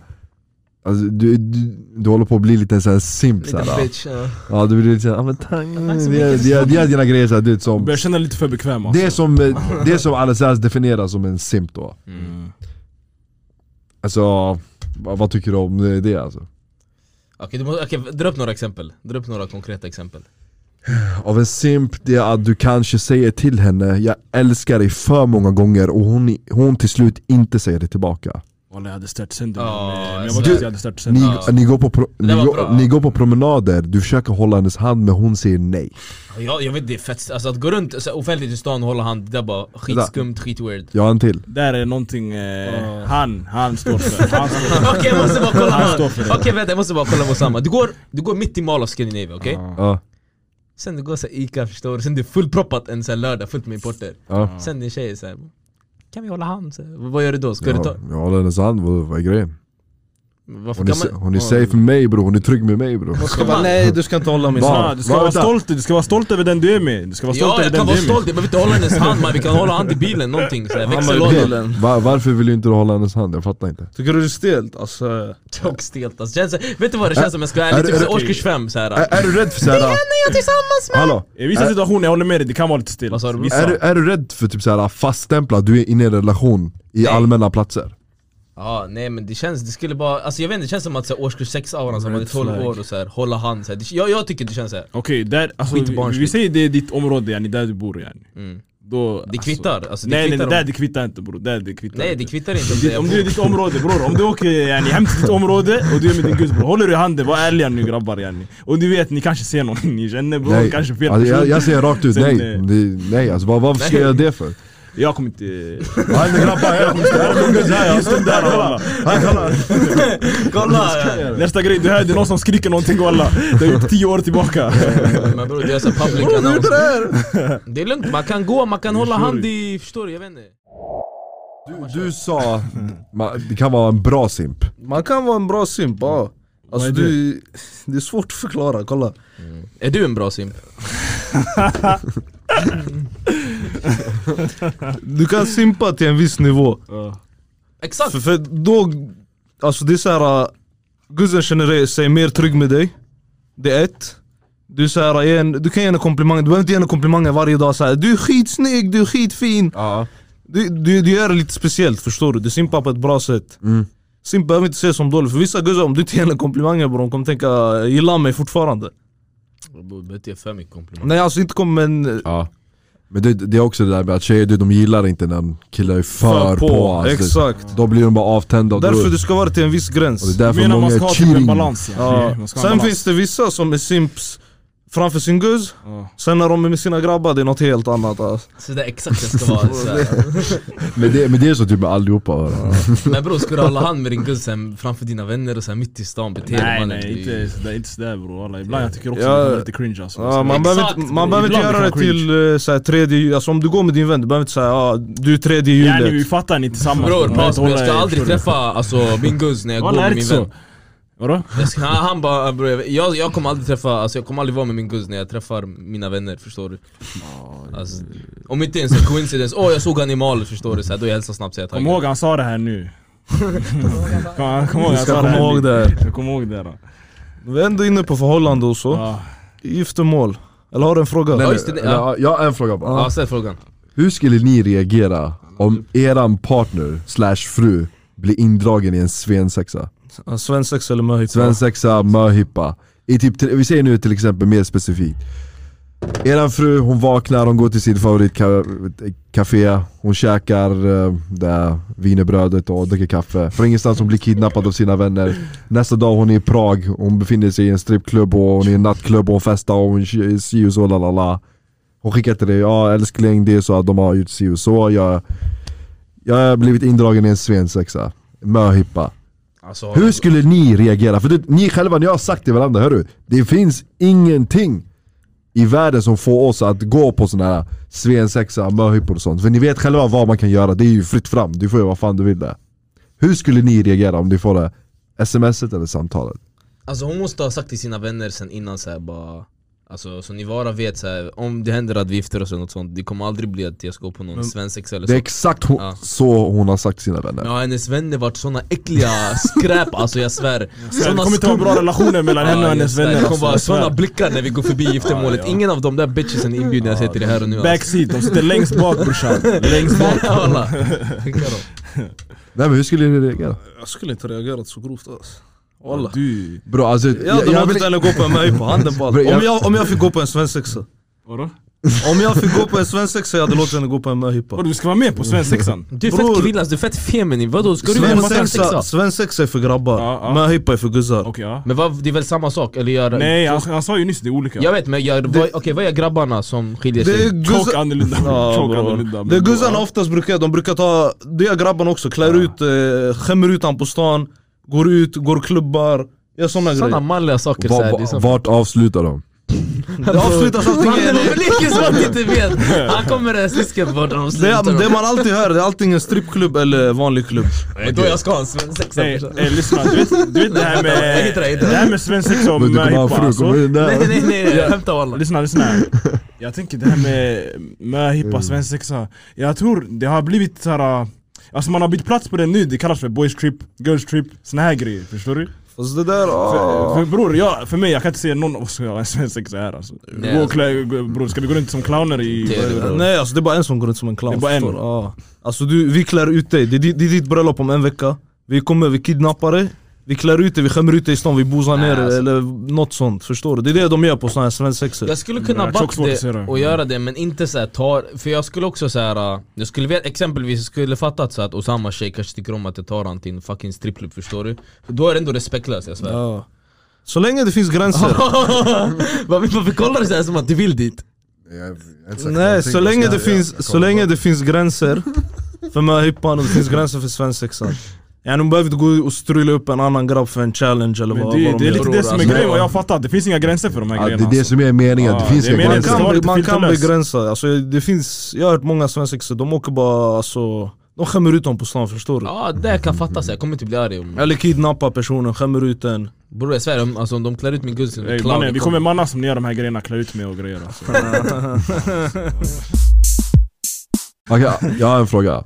[SPEAKER 1] Alltså, du, du, du håller på att bli lite en sån här simp
[SPEAKER 3] Lite
[SPEAKER 1] såhär
[SPEAKER 3] bitch. ja.
[SPEAKER 1] Ja du blir lite såhär, ah, men tack,
[SPEAKER 3] så
[SPEAKER 1] det
[SPEAKER 3] mycket.
[SPEAKER 1] är- det är dina grejer såhär, du vet som
[SPEAKER 4] Börjar känna lite för bekväm alltså.
[SPEAKER 1] Det är som, eh, det är som Alessandro definierar som en simp då
[SPEAKER 4] Mm.
[SPEAKER 1] Alltså, vad, vad tycker du om det, det alltså?
[SPEAKER 3] Okej, du måste- okej, dra upp några exempel. Dra upp några konkreta exempel.
[SPEAKER 1] Av en simp, det är att du kanske säger till henne 'Jag älskar dig för många gånger' och hon, hon till slut inte säger det tillbaka
[SPEAKER 4] Walla jag hade stört sönder
[SPEAKER 3] Ja,
[SPEAKER 4] mig. Men jag
[SPEAKER 3] jag ser.
[SPEAKER 4] var glad att jag hade stört sönder
[SPEAKER 1] Ni,
[SPEAKER 4] mig.
[SPEAKER 3] Ja.
[SPEAKER 1] ni, går på pro, ni,
[SPEAKER 3] var
[SPEAKER 1] går,
[SPEAKER 3] bra.
[SPEAKER 1] ni går på promenader, du försöker hålla hennes hand men hon säger nej
[SPEAKER 3] Ja, Jag, jag vet det är fett, alltså att gå runt så här, offentligt i stan och hålla hand, det där är bara skitskumt, skitweird.
[SPEAKER 1] Jag har en till
[SPEAKER 4] Där är någonting eh, han, han står för. Han står för.
[SPEAKER 3] Okej jag måste bara kolla
[SPEAKER 4] Han står för det.
[SPEAKER 3] Okej vänta jag måste bara kolla Mosamma Du går, du går mitt i Mall of Scandinavia okej?
[SPEAKER 1] ja,
[SPEAKER 3] Sen du går så här Ica förstår du, sen du är fullproppat en sån här lördag fullt med importer
[SPEAKER 1] ja.
[SPEAKER 3] Sen din tjej är såhär Kan vi hålla hand? Så här, vad gör du då? Ska du ta?
[SPEAKER 1] Jag, jag håller hennes hand, vad, vad är grejen?
[SPEAKER 3] Varför
[SPEAKER 1] Hon är,
[SPEAKER 3] kan
[SPEAKER 1] sa-
[SPEAKER 3] man?
[SPEAKER 1] hon är safe med mig bro, hon är trygg med mig bro
[SPEAKER 3] Ska man?
[SPEAKER 2] Nej du ska inte hålla min hand.
[SPEAKER 1] Va?
[SPEAKER 4] Ja, du ska
[SPEAKER 1] Va,
[SPEAKER 4] vara
[SPEAKER 1] vänta.
[SPEAKER 4] stolt, du ska vara stolt över den du är med. Du ska vara stolt
[SPEAKER 3] Ja
[SPEAKER 4] över
[SPEAKER 3] jag kan
[SPEAKER 4] den
[SPEAKER 3] vara
[SPEAKER 4] du är med.
[SPEAKER 3] stolt, jag behöver inte hålla hennes hand man, vi kan hålla hand i bilen någonting såhär,
[SPEAKER 2] Han var i
[SPEAKER 3] växellådan
[SPEAKER 2] bilen.
[SPEAKER 1] Va, Varför vill du inte hålla hennes hand? Jag fattar inte
[SPEAKER 2] Tycker du det är stelt? Alltså,
[SPEAKER 3] Tjock stelt alltså, känns, vet du vad det känns som? Jag ska vara
[SPEAKER 1] Är
[SPEAKER 3] ärlig,
[SPEAKER 1] det- är
[SPEAKER 3] typ
[SPEAKER 1] det
[SPEAKER 3] så här typ årskurs 5 såhär
[SPEAKER 1] Är, är du rädd för såhär... Det är jag tillsammans med! Hallå!
[SPEAKER 4] I vissa situationer, jag håller med dig, det kan vara lite stilt.
[SPEAKER 3] Vad sa du, bror?
[SPEAKER 4] Vissa.
[SPEAKER 1] Är du, är du rädd för typ såhär faststämpla, du är inne i en relation i allmänna platser?
[SPEAKER 3] Ja nej men det känns, det skulle bara, alltså jag vet inte, det känns som att så här, årskurs 6 auran som hade 12
[SPEAKER 4] flag.
[SPEAKER 3] år och såhär hålla hand såhär, Det- jag, jag tycker det känns såhär
[SPEAKER 4] Okej, där, alltså,
[SPEAKER 3] Skit i
[SPEAKER 4] vi, vi
[SPEAKER 3] barnskit.
[SPEAKER 4] säger det är ditt område yani, där du bor yani. Då,
[SPEAKER 3] Mm. Det kvittar, alltså det
[SPEAKER 4] nej nej,
[SPEAKER 3] kvittar
[SPEAKER 4] det där
[SPEAKER 3] om,
[SPEAKER 4] det kvittar inte bror, där det kvittar
[SPEAKER 3] Nej
[SPEAKER 4] inte.
[SPEAKER 3] det kvittar inte om det
[SPEAKER 4] Ditt-
[SPEAKER 3] är
[SPEAKER 4] Om du är i ditt område bror, om du åker yani, hem till ditt område och du är med din gus bror, håller du i handen, var ärliga nu grabbar yani. Och du vet, ni kanske ser någon ni känner bror, kanske fel
[SPEAKER 1] alltså, jag, jag säger rakt ut
[SPEAKER 4] Sen,
[SPEAKER 1] nej,
[SPEAKER 4] eh,
[SPEAKER 1] Det- nej alltså, vad, varför ska
[SPEAKER 3] Nej.
[SPEAKER 1] jag göra det för?
[SPEAKER 4] Jag kommer inte...
[SPEAKER 1] Hajde grabbar, jag kommer stå här med
[SPEAKER 4] Nej, jag stod där walla.
[SPEAKER 1] Hej kolla!
[SPEAKER 3] Kolla!
[SPEAKER 4] Nästa grej, det här det är någon som skriker någonting walla. Det har gjort tio år tillbaka.
[SPEAKER 3] Men bror det är så public announcement. Det är lugnt, man kan gå, man kan hålla hand i, förstår du? Jag vet inte.
[SPEAKER 1] Du, du sa, ma- det kan vara en bra simp.
[SPEAKER 2] Man kan vara en bra simp, ja. Alltså
[SPEAKER 4] Vad är
[SPEAKER 2] du, det är svårt att förklara, kolla.
[SPEAKER 3] Är du en bra simp?
[SPEAKER 2] Du kan simpa till en viss nivå.
[SPEAKER 3] Exakt!
[SPEAKER 2] För, för då, alltså det är såhär, äh, guzzen känner sig mer trygg med dig. Det är ett. Du, är så här, ge en, du kan ge henne komplimanger, du behöver inte ge henne komplimanger varje dag så här, Du är skitsnygg, du är skitfin.
[SPEAKER 1] Ja.
[SPEAKER 2] Du, du, du gör det lite speciellt, förstår du? Du simpar på ett bra sätt.
[SPEAKER 1] Mm.
[SPEAKER 2] Simp behöver inte ses som dålig, för vissa guzzar om du inte ger henne komplimanger bror, de kommer tänka gillar mig fortfarande.
[SPEAKER 3] Bror du behöver inte ge för mycket komplimanger.
[SPEAKER 2] Nej alltså inte kommer en...
[SPEAKER 1] ja. Men det, det är också det där med att tjejer du, de gillar inte när killar är för, på. alltså.
[SPEAKER 2] Exakt.
[SPEAKER 1] Då blir de bara avtända och
[SPEAKER 2] Därför
[SPEAKER 1] då-
[SPEAKER 2] du ska vara till en viss gräns.
[SPEAKER 1] och det är
[SPEAKER 4] Jag
[SPEAKER 1] därför
[SPEAKER 4] menar
[SPEAKER 1] många
[SPEAKER 4] man ska
[SPEAKER 1] är
[SPEAKER 4] ha typ en
[SPEAKER 1] cheating.
[SPEAKER 4] balans.
[SPEAKER 2] Ja.
[SPEAKER 4] Man ska ha en
[SPEAKER 2] Sen
[SPEAKER 4] balans.
[SPEAKER 2] finns det vissa som är simps framför sin guzz,
[SPEAKER 4] Ja.
[SPEAKER 2] sen när de är med sina grabbar det är något helt annat alltså.
[SPEAKER 3] Så det är exakt det ska vara. Så här.
[SPEAKER 1] Men det, men det är så typ med allihopa. va?
[SPEAKER 3] Men bror ska du hålla hand med din guzz sen framför dina vänner och sen mitt i stan bete dig
[SPEAKER 4] Nej
[SPEAKER 3] mannen.
[SPEAKER 4] nej,
[SPEAKER 3] Det är ju-
[SPEAKER 4] inte sådär, inte sådär bror. Alla. Ibland jag tycker också
[SPEAKER 2] Ja.
[SPEAKER 4] att det är lite cringe alltså.
[SPEAKER 2] ja, Man behöver inte, man behöver inte
[SPEAKER 4] Ibland
[SPEAKER 2] göra
[SPEAKER 4] kan
[SPEAKER 2] det
[SPEAKER 4] det vara
[SPEAKER 2] till eh, så här, tredje alltså, om du går med din vän, du behöver inte säga ah, du är tredje
[SPEAKER 4] Ja, ni, vi
[SPEAKER 2] hjulet.
[SPEAKER 4] fattar ni tillsammans.
[SPEAKER 3] Bror
[SPEAKER 4] Alltså, Man behöver
[SPEAKER 3] pass
[SPEAKER 4] inte
[SPEAKER 3] bror, jag
[SPEAKER 4] hålla
[SPEAKER 3] ska
[SPEAKER 4] er,
[SPEAKER 3] aldrig
[SPEAKER 4] förstår du?
[SPEAKER 3] träffa alltså, min guzz när jag går
[SPEAKER 4] Walla är
[SPEAKER 3] med
[SPEAKER 4] det
[SPEAKER 3] min
[SPEAKER 4] inte så?
[SPEAKER 3] vän.
[SPEAKER 4] Vadå?
[SPEAKER 3] Jag ska, han, han bara bror jag, jag, jag kommer aldrig träffa, alltså, jag kommer aldrig vara med min guzz när jag träffar mina vänner förstår du. Alltså, om inte ens en coincidence, åh jag såg han i mal förstår du, så här, då jag hälsar snabbt så jag
[SPEAKER 4] Kom
[SPEAKER 3] taggad.
[SPEAKER 4] ihåg han sa det här nu. Kom kom ihåg
[SPEAKER 2] Du
[SPEAKER 4] han
[SPEAKER 2] ska
[SPEAKER 4] sa det
[SPEAKER 2] komma
[SPEAKER 4] här
[SPEAKER 2] ihåg
[SPEAKER 4] nu.
[SPEAKER 2] det här.
[SPEAKER 4] Kom ihåg det då.
[SPEAKER 2] Vi är ändå inne på förhållande och så.
[SPEAKER 4] Ja.
[SPEAKER 2] Giftermål. Eller har du en fråga?
[SPEAKER 1] Nej,
[SPEAKER 3] Ja,
[SPEAKER 1] nej,
[SPEAKER 3] just det,
[SPEAKER 1] nej,
[SPEAKER 3] ja.
[SPEAKER 1] Jag har en fråga bara.
[SPEAKER 3] Ja ställ frågan.
[SPEAKER 1] Hur skulle ni reagera om eran partner slash fru blir indragen i en svensexa?
[SPEAKER 2] Ja, Svensexa eller möhippa?
[SPEAKER 1] Svensexa, möhippa. I typ, vi säger nu till exempel mer specifikt. Eran fru, hon vaknar, hon går till sin favoritcafé, hon käkar eh, det här wienerbrödet och dricker kaffe. Från ingenstans hon blir kidnappad av sina vänner. Nästa dag hon är i Prag, hon befinner sig i en strippklubb och hon är i en nattklubb och hon festar och hon är si och så lalala. Hon skickar till dig, ja älskling det är så att de har gjort si och så. Jag, jag har blivit indragen i en svensexa. Möhippa.
[SPEAKER 3] Alltså,
[SPEAKER 1] Hur skulle ni reagera? För det, ni själva, ni har sagt till varandra, hörru, det finns ingenting i världen som får oss att gå på sådana här svensexa, möhippor och sånt. För ni vet själva vad man kan göra, det är ju fritt fram, du får göra vad fan du vill där. Hur skulle ni reagera om du får det smset eller samtalet?
[SPEAKER 3] Alltså hon måste ha sagt till sina vänner sen innan så här, bara Alltså så ni bara vet så här, om det händer att vi gifter oss eller något sånt Det kommer aldrig bli att jag ska gå på någon svensexa eller
[SPEAKER 1] Det är
[SPEAKER 3] så
[SPEAKER 1] exakt hon,
[SPEAKER 3] Ja.
[SPEAKER 1] så hon har sagt till sina vänner.
[SPEAKER 3] Ja hennes vänner vart såna äckliga skräp alltså jag svär
[SPEAKER 4] Det
[SPEAKER 3] Såna
[SPEAKER 4] kommer inte vara
[SPEAKER 3] skum-
[SPEAKER 4] bra relationer mellan henne och
[SPEAKER 3] Ja,
[SPEAKER 4] hennes
[SPEAKER 3] jag svär.
[SPEAKER 4] vänner.
[SPEAKER 3] Det kommer vara
[SPEAKER 4] alltså, jag
[SPEAKER 3] såna
[SPEAKER 4] svär.
[SPEAKER 3] blickar när vi går förbi giftermålet Ingen av de där bitchesen är inbjudna, jag säger till det här och nu alltså.
[SPEAKER 4] Backseat, de sitter längst bak brorsan. Längst bak.
[SPEAKER 3] Alla. Skicka dem.
[SPEAKER 1] Nej men hur skulle ni reagera?
[SPEAKER 2] Jag skulle inte reagerat så grovt alltså. Walla.
[SPEAKER 4] Du...
[SPEAKER 1] Bro, alltså,
[SPEAKER 2] Jag hade
[SPEAKER 1] jag,
[SPEAKER 2] jag inte heller gå på en möhippa, handen på allt.
[SPEAKER 1] Bro, jag-
[SPEAKER 2] Om jag, om jag fick gå på en svensexa.
[SPEAKER 4] Vadå?
[SPEAKER 2] Om jag fick gå på en svensexa jag hade låtit henne gå på en möhippa.
[SPEAKER 4] Vadå, du ska vara med på svensexan?
[SPEAKER 3] Du är fett
[SPEAKER 2] Bror.
[SPEAKER 3] kvinnas, du är fett feminin, vadå? Ska du vara
[SPEAKER 2] Svensexa,
[SPEAKER 3] svensexa?
[SPEAKER 2] svensexa är för grabbar,
[SPEAKER 4] Ja, ja.
[SPEAKER 2] möhippa är för guzzar.
[SPEAKER 4] Okej ja.
[SPEAKER 3] Men vad, det är väl samma sak? Eller gör...
[SPEAKER 4] Nej han, han sa ju nyss det är olika.
[SPEAKER 3] Jag vet men jag, vad- okej vad är grabbarna som skiljer sig?
[SPEAKER 2] Det är
[SPEAKER 4] Chock
[SPEAKER 2] guzzar...
[SPEAKER 4] annorlunda.
[SPEAKER 2] Ja,
[SPEAKER 4] Chock
[SPEAKER 2] bror.
[SPEAKER 4] annorlunda.
[SPEAKER 2] det
[SPEAKER 4] men
[SPEAKER 2] guzzarna
[SPEAKER 4] bror,
[SPEAKER 2] oftast brukar göra, de brukar ta, det gör grabbarna också, klär ut, eh, skämmer ut han på stan, går ut, går klubbar, gör såna
[SPEAKER 3] Sådana
[SPEAKER 2] grejer.
[SPEAKER 3] manliga saker
[SPEAKER 1] va,
[SPEAKER 3] såhär, det är
[SPEAKER 1] va,
[SPEAKER 3] som-
[SPEAKER 1] vart avslutar de?
[SPEAKER 2] Det avslutas allting i
[SPEAKER 3] Mannen
[SPEAKER 2] en...
[SPEAKER 3] leker som att han inte vet! Han kommer den slisken på de
[SPEAKER 2] Det,
[SPEAKER 3] slutar
[SPEAKER 2] det man alltid hör, det är alltid en strippklubb eller vanlig klubb.
[SPEAKER 3] Det är då jag ska ha en svensexa
[SPEAKER 4] Nej,
[SPEAKER 3] brorsan.
[SPEAKER 4] eh, lyssna, du vet, du vet det här
[SPEAKER 3] Jag
[SPEAKER 4] med,
[SPEAKER 3] hittar det, jag hittar det.
[SPEAKER 4] det här med svensexa och
[SPEAKER 1] Men du kommer ha
[SPEAKER 4] möhippa
[SPEAKER 1] en fru,
[SPEAKER 4] alltså.
[SPEAKER 1] kommer in
[SPEAKER 3] Nej
[SPEAKER 1] där.
[SPEAKER 3] nej nej, nej, jag skämtar walla
[SPEAKER 4] Lyssna, lyssna. Jag tänker det här med
[SPEAKER 1] Mm.
[SPEAKER 4] möhippa, svensexa. Jag tror det har blivit såhär... Alltså man har bytt plats på det nu, det kallas för boys trip, girls trip, såna här grejer. Förstår du?
[SPEAKER 2] Fast Alltså det där,
[SPEAKER 4] För,
[SPEAKER 2] ah.
[SPEAKER 4] för bror, jag, för mig, jag kan inte se någon av oss göra en svensexa här alltså.
[SPEAKER 3] Nej,
[SPEAKER 4] gå och
[SPEAKER 3] alltså.
[SPEAKER 4] klä, gå- bror, ska vi gå runt som clowner i...
[SPEAKER 3] Det är det, bror.
[SPEAKER 2] Nej alltså det är bara en som går runt som en clown
[SPEAKER 4] Det är bara en.
[SPEAKER 2] förstår du? Ja. Alltså du, vi klär ut dig, det är, ditt- det är ditt bröllop om en vecka Vi kommer, vi kidnappar dig Vi klär ut dig, vi skämmer ut dig i stan, vi bosar
[SPEAKER 3] Nej,
[SPEAKER 2] ner dig
[SPEAKER 3] alltså.
[SPEAKER 2] eller något sånt Förstår du? Det är det de gör på såna här svensexor
[SPEAKER 3] Mm, Jag skulle kunna
[SPEAKER 4] Jag har
[SPEAKER 3] backa
[SPEAKER 4] också svårt att se
[SPEAKER 3] det
[SPEAKER 4] det.
[SPEAKER 3] och göra det men inte såhär ta, för jag skulle också såhär äh, Jag skulle veta, exempelvis jag skulle fattat så att Osamas tjej kanske tycker om att jag tar han till en fucking strippklubb förstår du? Då är det ändå respektlöst jag svär
[SPEAKER 2] ja. Så länge det finns gränser
[SPEAKER 3] Varför varför kollar du såhär som att du vill dit?
[SPEAKER 1] Jag, jag har inte sagt
[SPEAKER 2] Nej,
[SPEAKER 1] någonting.
[SPEAKER 2] så länge,
[SPEAKER 1] Jag
[SPEAKER 2] det
[SPEAKER 1] ska- jag-
[SPEAKER 2] finns,
[SPEAKER 1] jag
[SPEAKER 2] så
[SPEAKER 1] kollar
[SPEAKER 2] länge
[SPEAKER 1] bara.
[SPEAKER 2] det finns gränser för möhippan och det finns gränser för svensexan. Ja, de behöver inte gå och strula upp en annan grabb för en challenge eller
[SPEAKER 4] Men
[SPEAKER 2] vad,
[SPEAKER 4] det,
[SPEAKER 2] vad
[SPEAKER 4] det
[SPEAKER 2] de
[SPEAKER 4] är
[SPEAKER 2] gör.
[SPEAKER 4] lite
[SPEAKER 3] tror,
[SPEAKER 4] det som är
[SPEAKER 3] alltså.
[SPEAKER 4] grejen, vad jag har fattat. Det finns inga gränser för de här
[SPEAKER 1] Ja, det
[SPEAKER 4] grejerna.
[SPEAKER 1] är det
[SPEAKER 4] alltså.
[SPEAKER 1] som är meningen,
[SPEAKER 4] Ja,
[SPEAKER 1] det finns
[SPEAKER 4] det är
[SPEAKER 1] inga
[SPEAKER 4] meningen.
[SPEAKER 2] Man
[SPEAKER 4] Det ska vara
[SPEAKER 2] kan,
[SPEAKER 4] lite
[SPEAKER 2] man kan
[SPEAKER 4] filterlöst.
[SPEAKER 2] begränsa, alltså, det finns, jag har hört många svensexor, de åker bara alltså, de skämmer ut dem på stan förstår du?
[SPEAKER 3] Ja det kan fattas, jag kommer inte bli arg om...
[SPEAKER 2] Eller kidnappar personen, skämmer ut den.
[SPEAKER 3] Bror jag svär, om, alltså, om de klär ut min guds
[SPEAKER 4] Ey, mannen, vi kommer manna som ni gör de här grejerna, klä ut mig och grejer alltså.
[SPEAKER 1] Okej, jag har en fråga.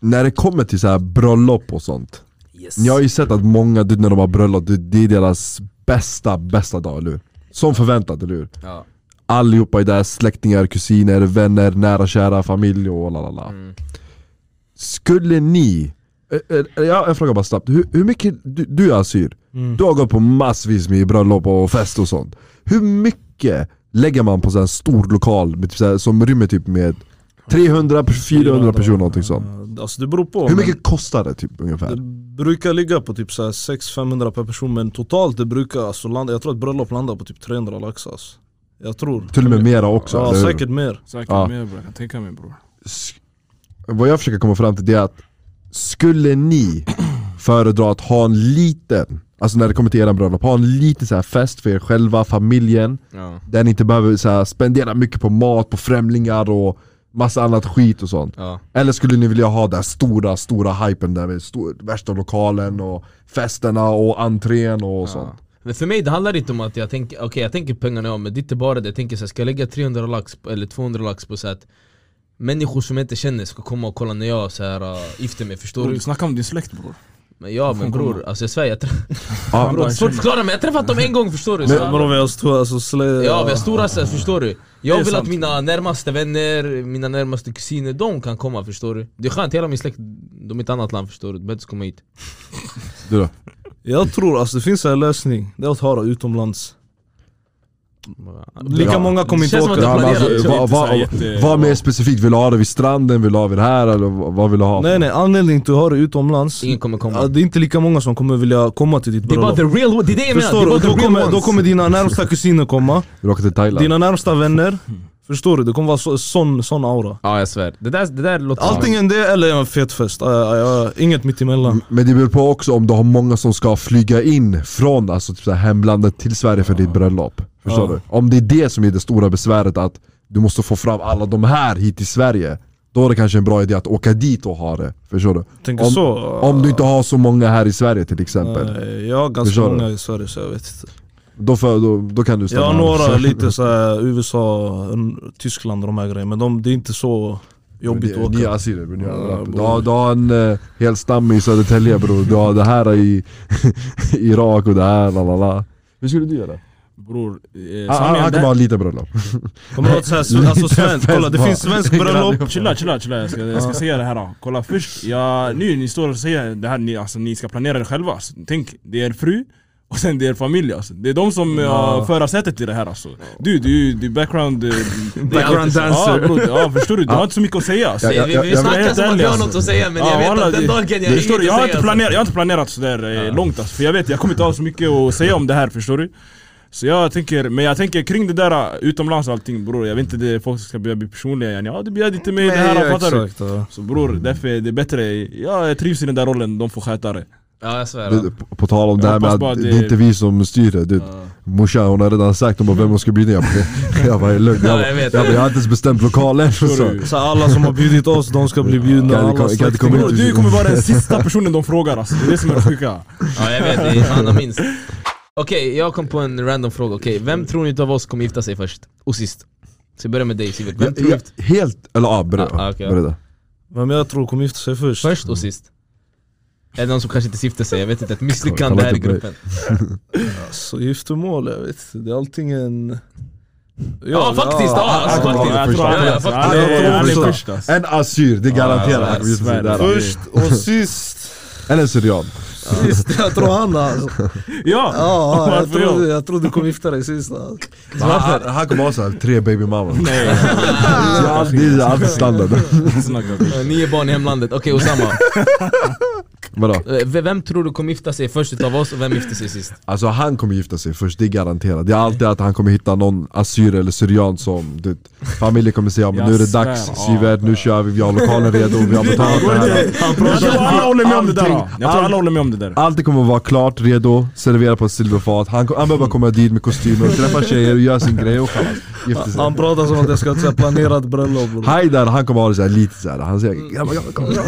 [SPEAKER 1] När det kommer till så här bröllop och sånt.
[SPEAKER 3] Yes.
[SPEAKER 1] Ni har ju sett att många, du, när de har bröllop, du, det är deras bästa, bästa dag, eller hur? Som förväntat, eller hur?
[SPEAKER 3] Ja.
[SPEAKER 1] Allihopa är där, släktingar, kusiner, vänner, nära, kära, familj och lalala.
[SPEAKER 2] Mm.
[SPEAKER 1] Skulle ni, eh, eh, ja, jag frågar bara snabbt, hur, hur mycket, du, du är assyr,
[SPEAKER 2] Mm.
[SPEAKER 1] du har gått på massvis med bröllop och fest och sånt. Hur mycket lägger man på så här stor lokal med typ så här, som rymmer typ med 300-400 personer någonting sånt?
[SPEAKER 2] Alltså det beror på.
[SPEAKER 1] Hur
[SPEAKER 2] men
[SPEAKER 1] mycket kostar det typ ungefär?
[SPEAKER 2] Det brukar ligga på typ så här 600-500 per person men totalt det brukar alltså landa, jag tror att bröllop landar på typ 300 lax alltså. Jag tror.
[SPEAKER 1] Till och med mera också,
[SPEAKER 2] Ja
[SPEAKER 1] eller hur?
[SPEAKER 2] säkert mer.
[SPEAKER 4] Säkert
[SPEAKER 1] Ja.
[SPEAKER 4] mer bror, jag kan tänka mig bror.
[SPEAKER 1] sk- vad jag försöker komma fram till det är att skulle ni föredra att ha en liten, alltså när det kommer till era bröllop, ha en liten så här fest för er själva, familjen,
[SPEAKER 3] Ja.
[SPEAKER 1] där ni inte behöver så här spendera mycket på mat, på främlingar och massa annat skit och sånt.
[SPEAKER 3] Ja.
[SPEAKER 1] Eller skulle ni vilja ha den här stora, stora hypen där med stor, värsta lokalen och festerna och entrén och sånt.
[SPEAKER 3] Men för mig det handlar inte om att jag tänker, okej jag tänker pengarna ja men det är inte bara det, jag tänker så här, ska jag lägga 300 lax på- eller 200 lax på så att människor som jag inte känner ska komma och kolla när jag så här, äh, gifter mig förstår
[SPEAKER 4] bror
[SPEAKER 3] du?
[SPEAKER 4] du snackar om din släkt bror.
[SPEAKER 3] Men ja men bror, alltså jag svär jag träffar,
[SPEAKER 1] Ja,
[SPEAKER 3] bror, det är svårt att förklara men jag har träffat dem en gång förstår du? Så,
[SPEAKER 2] Men om vi har stora, alltså, slä-
[SPEAKER 3] ja vi har stora så här, förstår du? Jag
[SPEAKER 4] Det är
[SPEAKER 3] vill att
[SPEAKER 4] sant.
[SPEAKER 3] mina närmaste vänner, mina närmaste kusiner, de kan komma förstår du? Det är skönt, hela min släkt, de är i ett annat land förstår du, de behöver inte komma hit
[SPEAKER 1] du då?
[SPEAKER 2] Jag tror alltså det finns en lösning, det är att ha det utomlands. Lika
[SPEAKER 1] Ja.
[SPEAKER 2] många kommer
[SPEAKER 3] Det
[SPEAKER 2] inte
[SPEAKER 3] känns
[SPEAKER 2] åka.
[SPEAKER 3] som att det
[SPEAKER 1] Ja, men
[SPEAKER 3] planerat,
[SPEAKER 1] alltså,
[SPEAKER 3] så
[SPEAKER 1] vad,
[SPEAKER 4] inte så
[SPEAKER 1] vad,
[SPEAKER 4] här jätte-
[SPEAKER 1] vad mer specifikt, vill du ha det vid stranden, vill du ha det här eller vad vad vill du ha?
[SPEAKER 2] Nej nej, anledningen till att ha det utomlands,
[SPEAKER 3] Ingen kommer komma
[SPEAKER 2] ja, det är inte lika många som kommer vilja komma till ditt
[SPEAKER 3] Det är bara
[SPEAKER 2] bröllop.
[SPEAKER 3] the real one, det är det jag menar!
[SPEAKER 2] Förstår
[SPEAKER 3] Det
[SPEAKER 2] du? Då
[SPEAKER 3] är bara the real
[SPEAKER 2] kommer, då
[SPEAKER 3] ones.
[SPEAKER 2] kommer dina närmsta kusiner komma,
[SPEAKER 1] Vill du åka till Thailand?
[SPEAKER 2] dina närmsta vänner. Förstår du? Det kommer vara så, sån, sån aura.
[SPEAKER 3] Ja jag svär, det där, det där låter
[SPEAKER 2] Antingen det eller en fet fest, Aj, aj, aj. inget mittemellan.
[SPEAKER 1] Men det beror på också om du har många som ska flyga in från alltså, typ så här, hemlandet till Sverige för ditt bröllop. Förstår
[SPEAKER 2] Ja.
[SPEAKER 1] du? Om det är det som är det stora besväret, att du måste få fram alla de här hit till Sverige. Då är det kanske en bra idé att åka dit och ha det. Förstår du?
[SPEAKER 2] Tänker
[SPEAKER 1] Om,
[SPEAKER 2] så.
[SPEAKER 1] om du inte har så många här i Sverige till exempel.
[SPEAKER 2] Nej, Jag har ganska
[SPEAKER 1] Förstår du?
[SPEAKER 2] många i Sverige så jag vet inte.
[SPEAKER 1] Då, för, då, då kan du
[SPEAKER 2] Jag
[SPEAKER 1] stanna
[SPEAKER 2] har
[SPEAKER 1] här.
[SPEAKER 2] några lite såhär USA, n- Tyskland och de här grejerna men de, det är inte så jobbigt att
[SPEAKER 1] Ni- Ni är
[SPEAKER 2] åka.
[SPEAKER 1] assyrier bror, ni har
[SPEAKER 2] Ja,
[SPEAKER 1] araber.
[SPEAKER 2] bror.
[SPEAKER 1] du, har- du har en eh, hel stam i Södertälje bror, du har det här i Irak och det här, lalala. Hur skulle du göra? Ah,
[SPEAKER 4] Bror, eh,
[SPEAKER 1] Han, han
[SPEAKER 4] sanningen
[SPEAKER 1] kommer ha
[SPEAKER 4] där...
[SPEAKER 1] en liten bröllop.
[SPEAKER 2] Kommer du ihåg såhär, sve- alltså svensk, kolla det
[SPEAKER 1] bara.
[SPEAKER 2] finns svensk bröllop
[SPEAKER 4] Chilla chilla chilla, jag ska, jag ska säga det här då. Kolla först, jag, nu ni står och säger det här, ni, alltså, ni ska planera det själva alltså. Tänk, det är er fru och sen det är er familj alltså. Det är de som ja. förarsätet i det här alltså. Du, du, du background... eh,
[SPEAKER 2] Background
[SPEAKER 4] Ja,
[SPEAKER 2] dancer.
[SPEAKER 4] bror, ja förstår du, du har inte så mycket att säga alltså.
[SPEAKER 1] Ja, ja.
[SPEAKER 3] Vi, vi, vi
[SPEAKER 1] jag-
[SPEAKER 3] snackar
[SPEAKER 4] jag-
[SPEAKER 3] som att
[SPEAKER 4] helt
[SPEAKER 3] vi har
[SPEAKER 4] ärlig,
[SPEAKER 3] något att säga men
[SPEAKER 4] Ja,
[SPEAKER 3] jag vet
[SPEAKER 4] walla,
[SPEAKER 3] att den
[SPEAKER 4] det-
[SPEAKER 3] dagen jag
[SPEAKER 4] det
[SPEAKER 3] ringer
[SPEAKER 4] förstår du,
[SPEAKER 3] inte
[SPEAKER 4] jag, har inte
[SPEAKER 3] säga
[SPEAKER 4] planerat, jag har inte planerat sådär eh, långt alltså, för jag vet jag kommer inte ha så mycket att säga om det här förstår du så jag tänker, men jag tänker kring det där eh, utomlands och allting bror, jag vet inte det folk ska börja bli personliga yani. Ja du bjöd inte mig i det här, fattar du?
[SPEAKER 2] exakt, ja.
[SPEAKER 4] Så bror, därför är det bättre, ja, jag trivs i den där rollen, de får sköta det
[SPEAKER 3] Ja jag svär
[SPEAKER 1] Du, på, på tal om det här med
[SPEAKER 4] hoppas
[SPEAKER 1] att
[SPEAKER 4] bara
[SPEAKER 1] det,
[SPEAKER 4] det-
[SPEAKER 1] är inte vi som styr det. Du, Morsan hon har redan sagt hon bara, vem hon ska bjuda. Jag bara, jag bara, är lugn. Jag,
[SPEAKER 3] Ja, jag
[SPEAKER 1] bara,
[SPEAKER 3] vet.
[SPEAKER 1] jag, bara, jag har inte ens bestämt lokalen. Så,
[SPEAKER 4] Förstår du?
[SPEAKER 2] Mm. Så alla som har bjudit oss, de ska bli bjudna.
[SPEAKER 1] Kan du-
[SPEAKER 2] Alla
[SPEAKER 1] kan- kan du komma
[SPEAKER 4] Bror
[SPEAKER 2] släktingar.
[SPEAKER 1] hit?
[SPEAKER 4] du kommer vara den sista personen de frågar alltså, det är det som är det sjuka
[SPEAKER 3] Ja jag vet, det är fan jag minns Okej, jag kom på en random fråga, okej vem tror ni utav oss kommer gifta sig först? Och sist? Så jag börjar med dig Sivert, vem
[SPEAKER 1] jag,
[SPEAKER 3] tror du
[SPEAKER 1] jag, helt, eller ja, berätta.
[SPEAKER 3] Ah, ah, okej.
[SPEAKER 1] berätta.
[SPEAKER 2] Vem jag tror kommer gifta sig först.
[SPEAKER 3] först och sist? Är det någon som kanske inte gifter sig? Jag vet inte, ett misslyckande
[SPEAKER 1] Kolla
[SPEAKER 3] här i
[SPEAKER 1] inte på dig.
[SPEAKER 3] gruppen
[SPEAKER 2] Så giftermål, jag vet inte. Det är allting en...
[SPEAKER 3] Ja faktiskt, ja alltså
[SPEAKER 1] ja,
[SPEAKER 3] faktiskt
[SPEAKER 1] jag tror
[SPEAKER 3] Ja,
[SPEAKER 4] han
[SPEAKER 3] ja,
[SPEAKER 4] är
[SPEAKER 3] faktiskt.
[SPEAKER 4] han är- han
[SPEAKER 2] Ja,
[SPEAKER 4] är först alltså
[SPEAKER 1] En assyr, det
[SPEAKER 3] Ja, ja,
[SPEAKER 1] garanterar.
[SPEAKER 3] jag
[SPEAKER 1] Ah,
[SPEAKER 4] svär.
[SPEAKER 1] ja,
[SPEAKER 2] Först och sist.
[SPEAKER 1] Eller syrian.
[SPEAKER 2] Sist, jag tror han alltså.
[SPEAKER 4] Ja!
[SPEAKER 2] Ja, jag
[SPEAKER 4] Varför jag?
[SPEAKER 2] tror, jag tror du kommer gifta dig sist. Alltså.
[SPEAKER 1] Han, han kommer ha såhär tre babymammor.
[SPEAKER 4] Nej,
[SPEAKER 1] Det är alltid standard.
[SPEAKER 4] snacka skit.
[SPEAKER 3] Nio barn i hemlandet, okej Osama
[SPEAKER 1] Vadå?
[SPEAKER 3] Eh, v- Vem tror du kommer gifta sig först utav oss och vem gifter sig sist?
[SPEAKER 1] Alltså han kommer gifta sig först, det är garanterat. Det är alltid att han kommer hitta någon assyr eller syrian som du, vet, familjen kommer säga men nu är det
[SPEAKER 4] Jag
[SPEAKER 1] dags
[SPEAKER 4] svär, ja.
[SPEAKER 1] Sivert, nu kör vi, vi har lokalen redo, vi har betalat det här.
[SPEAKER 4] Jag tror alla håller med om det där.
[SPEAKER 1] Allting-
[SPEAKER 4] Jag tror alla håller med om det där.
[SPEAKER 1] Allt kommer vara klart, redo, servera på ett silverfat. Han, kom- han behöver bara komma dit med kostymer, träffa tjejer och göra sin grej och chalas. Gifter sig.
[SPEAKER 2] Han pratar som att jag ska ha ett planerat bröllop bror.
[SPEAKER 1] Haidar han kommer ha det så här, lite såhär, han säger grabbar grabbar kom igen.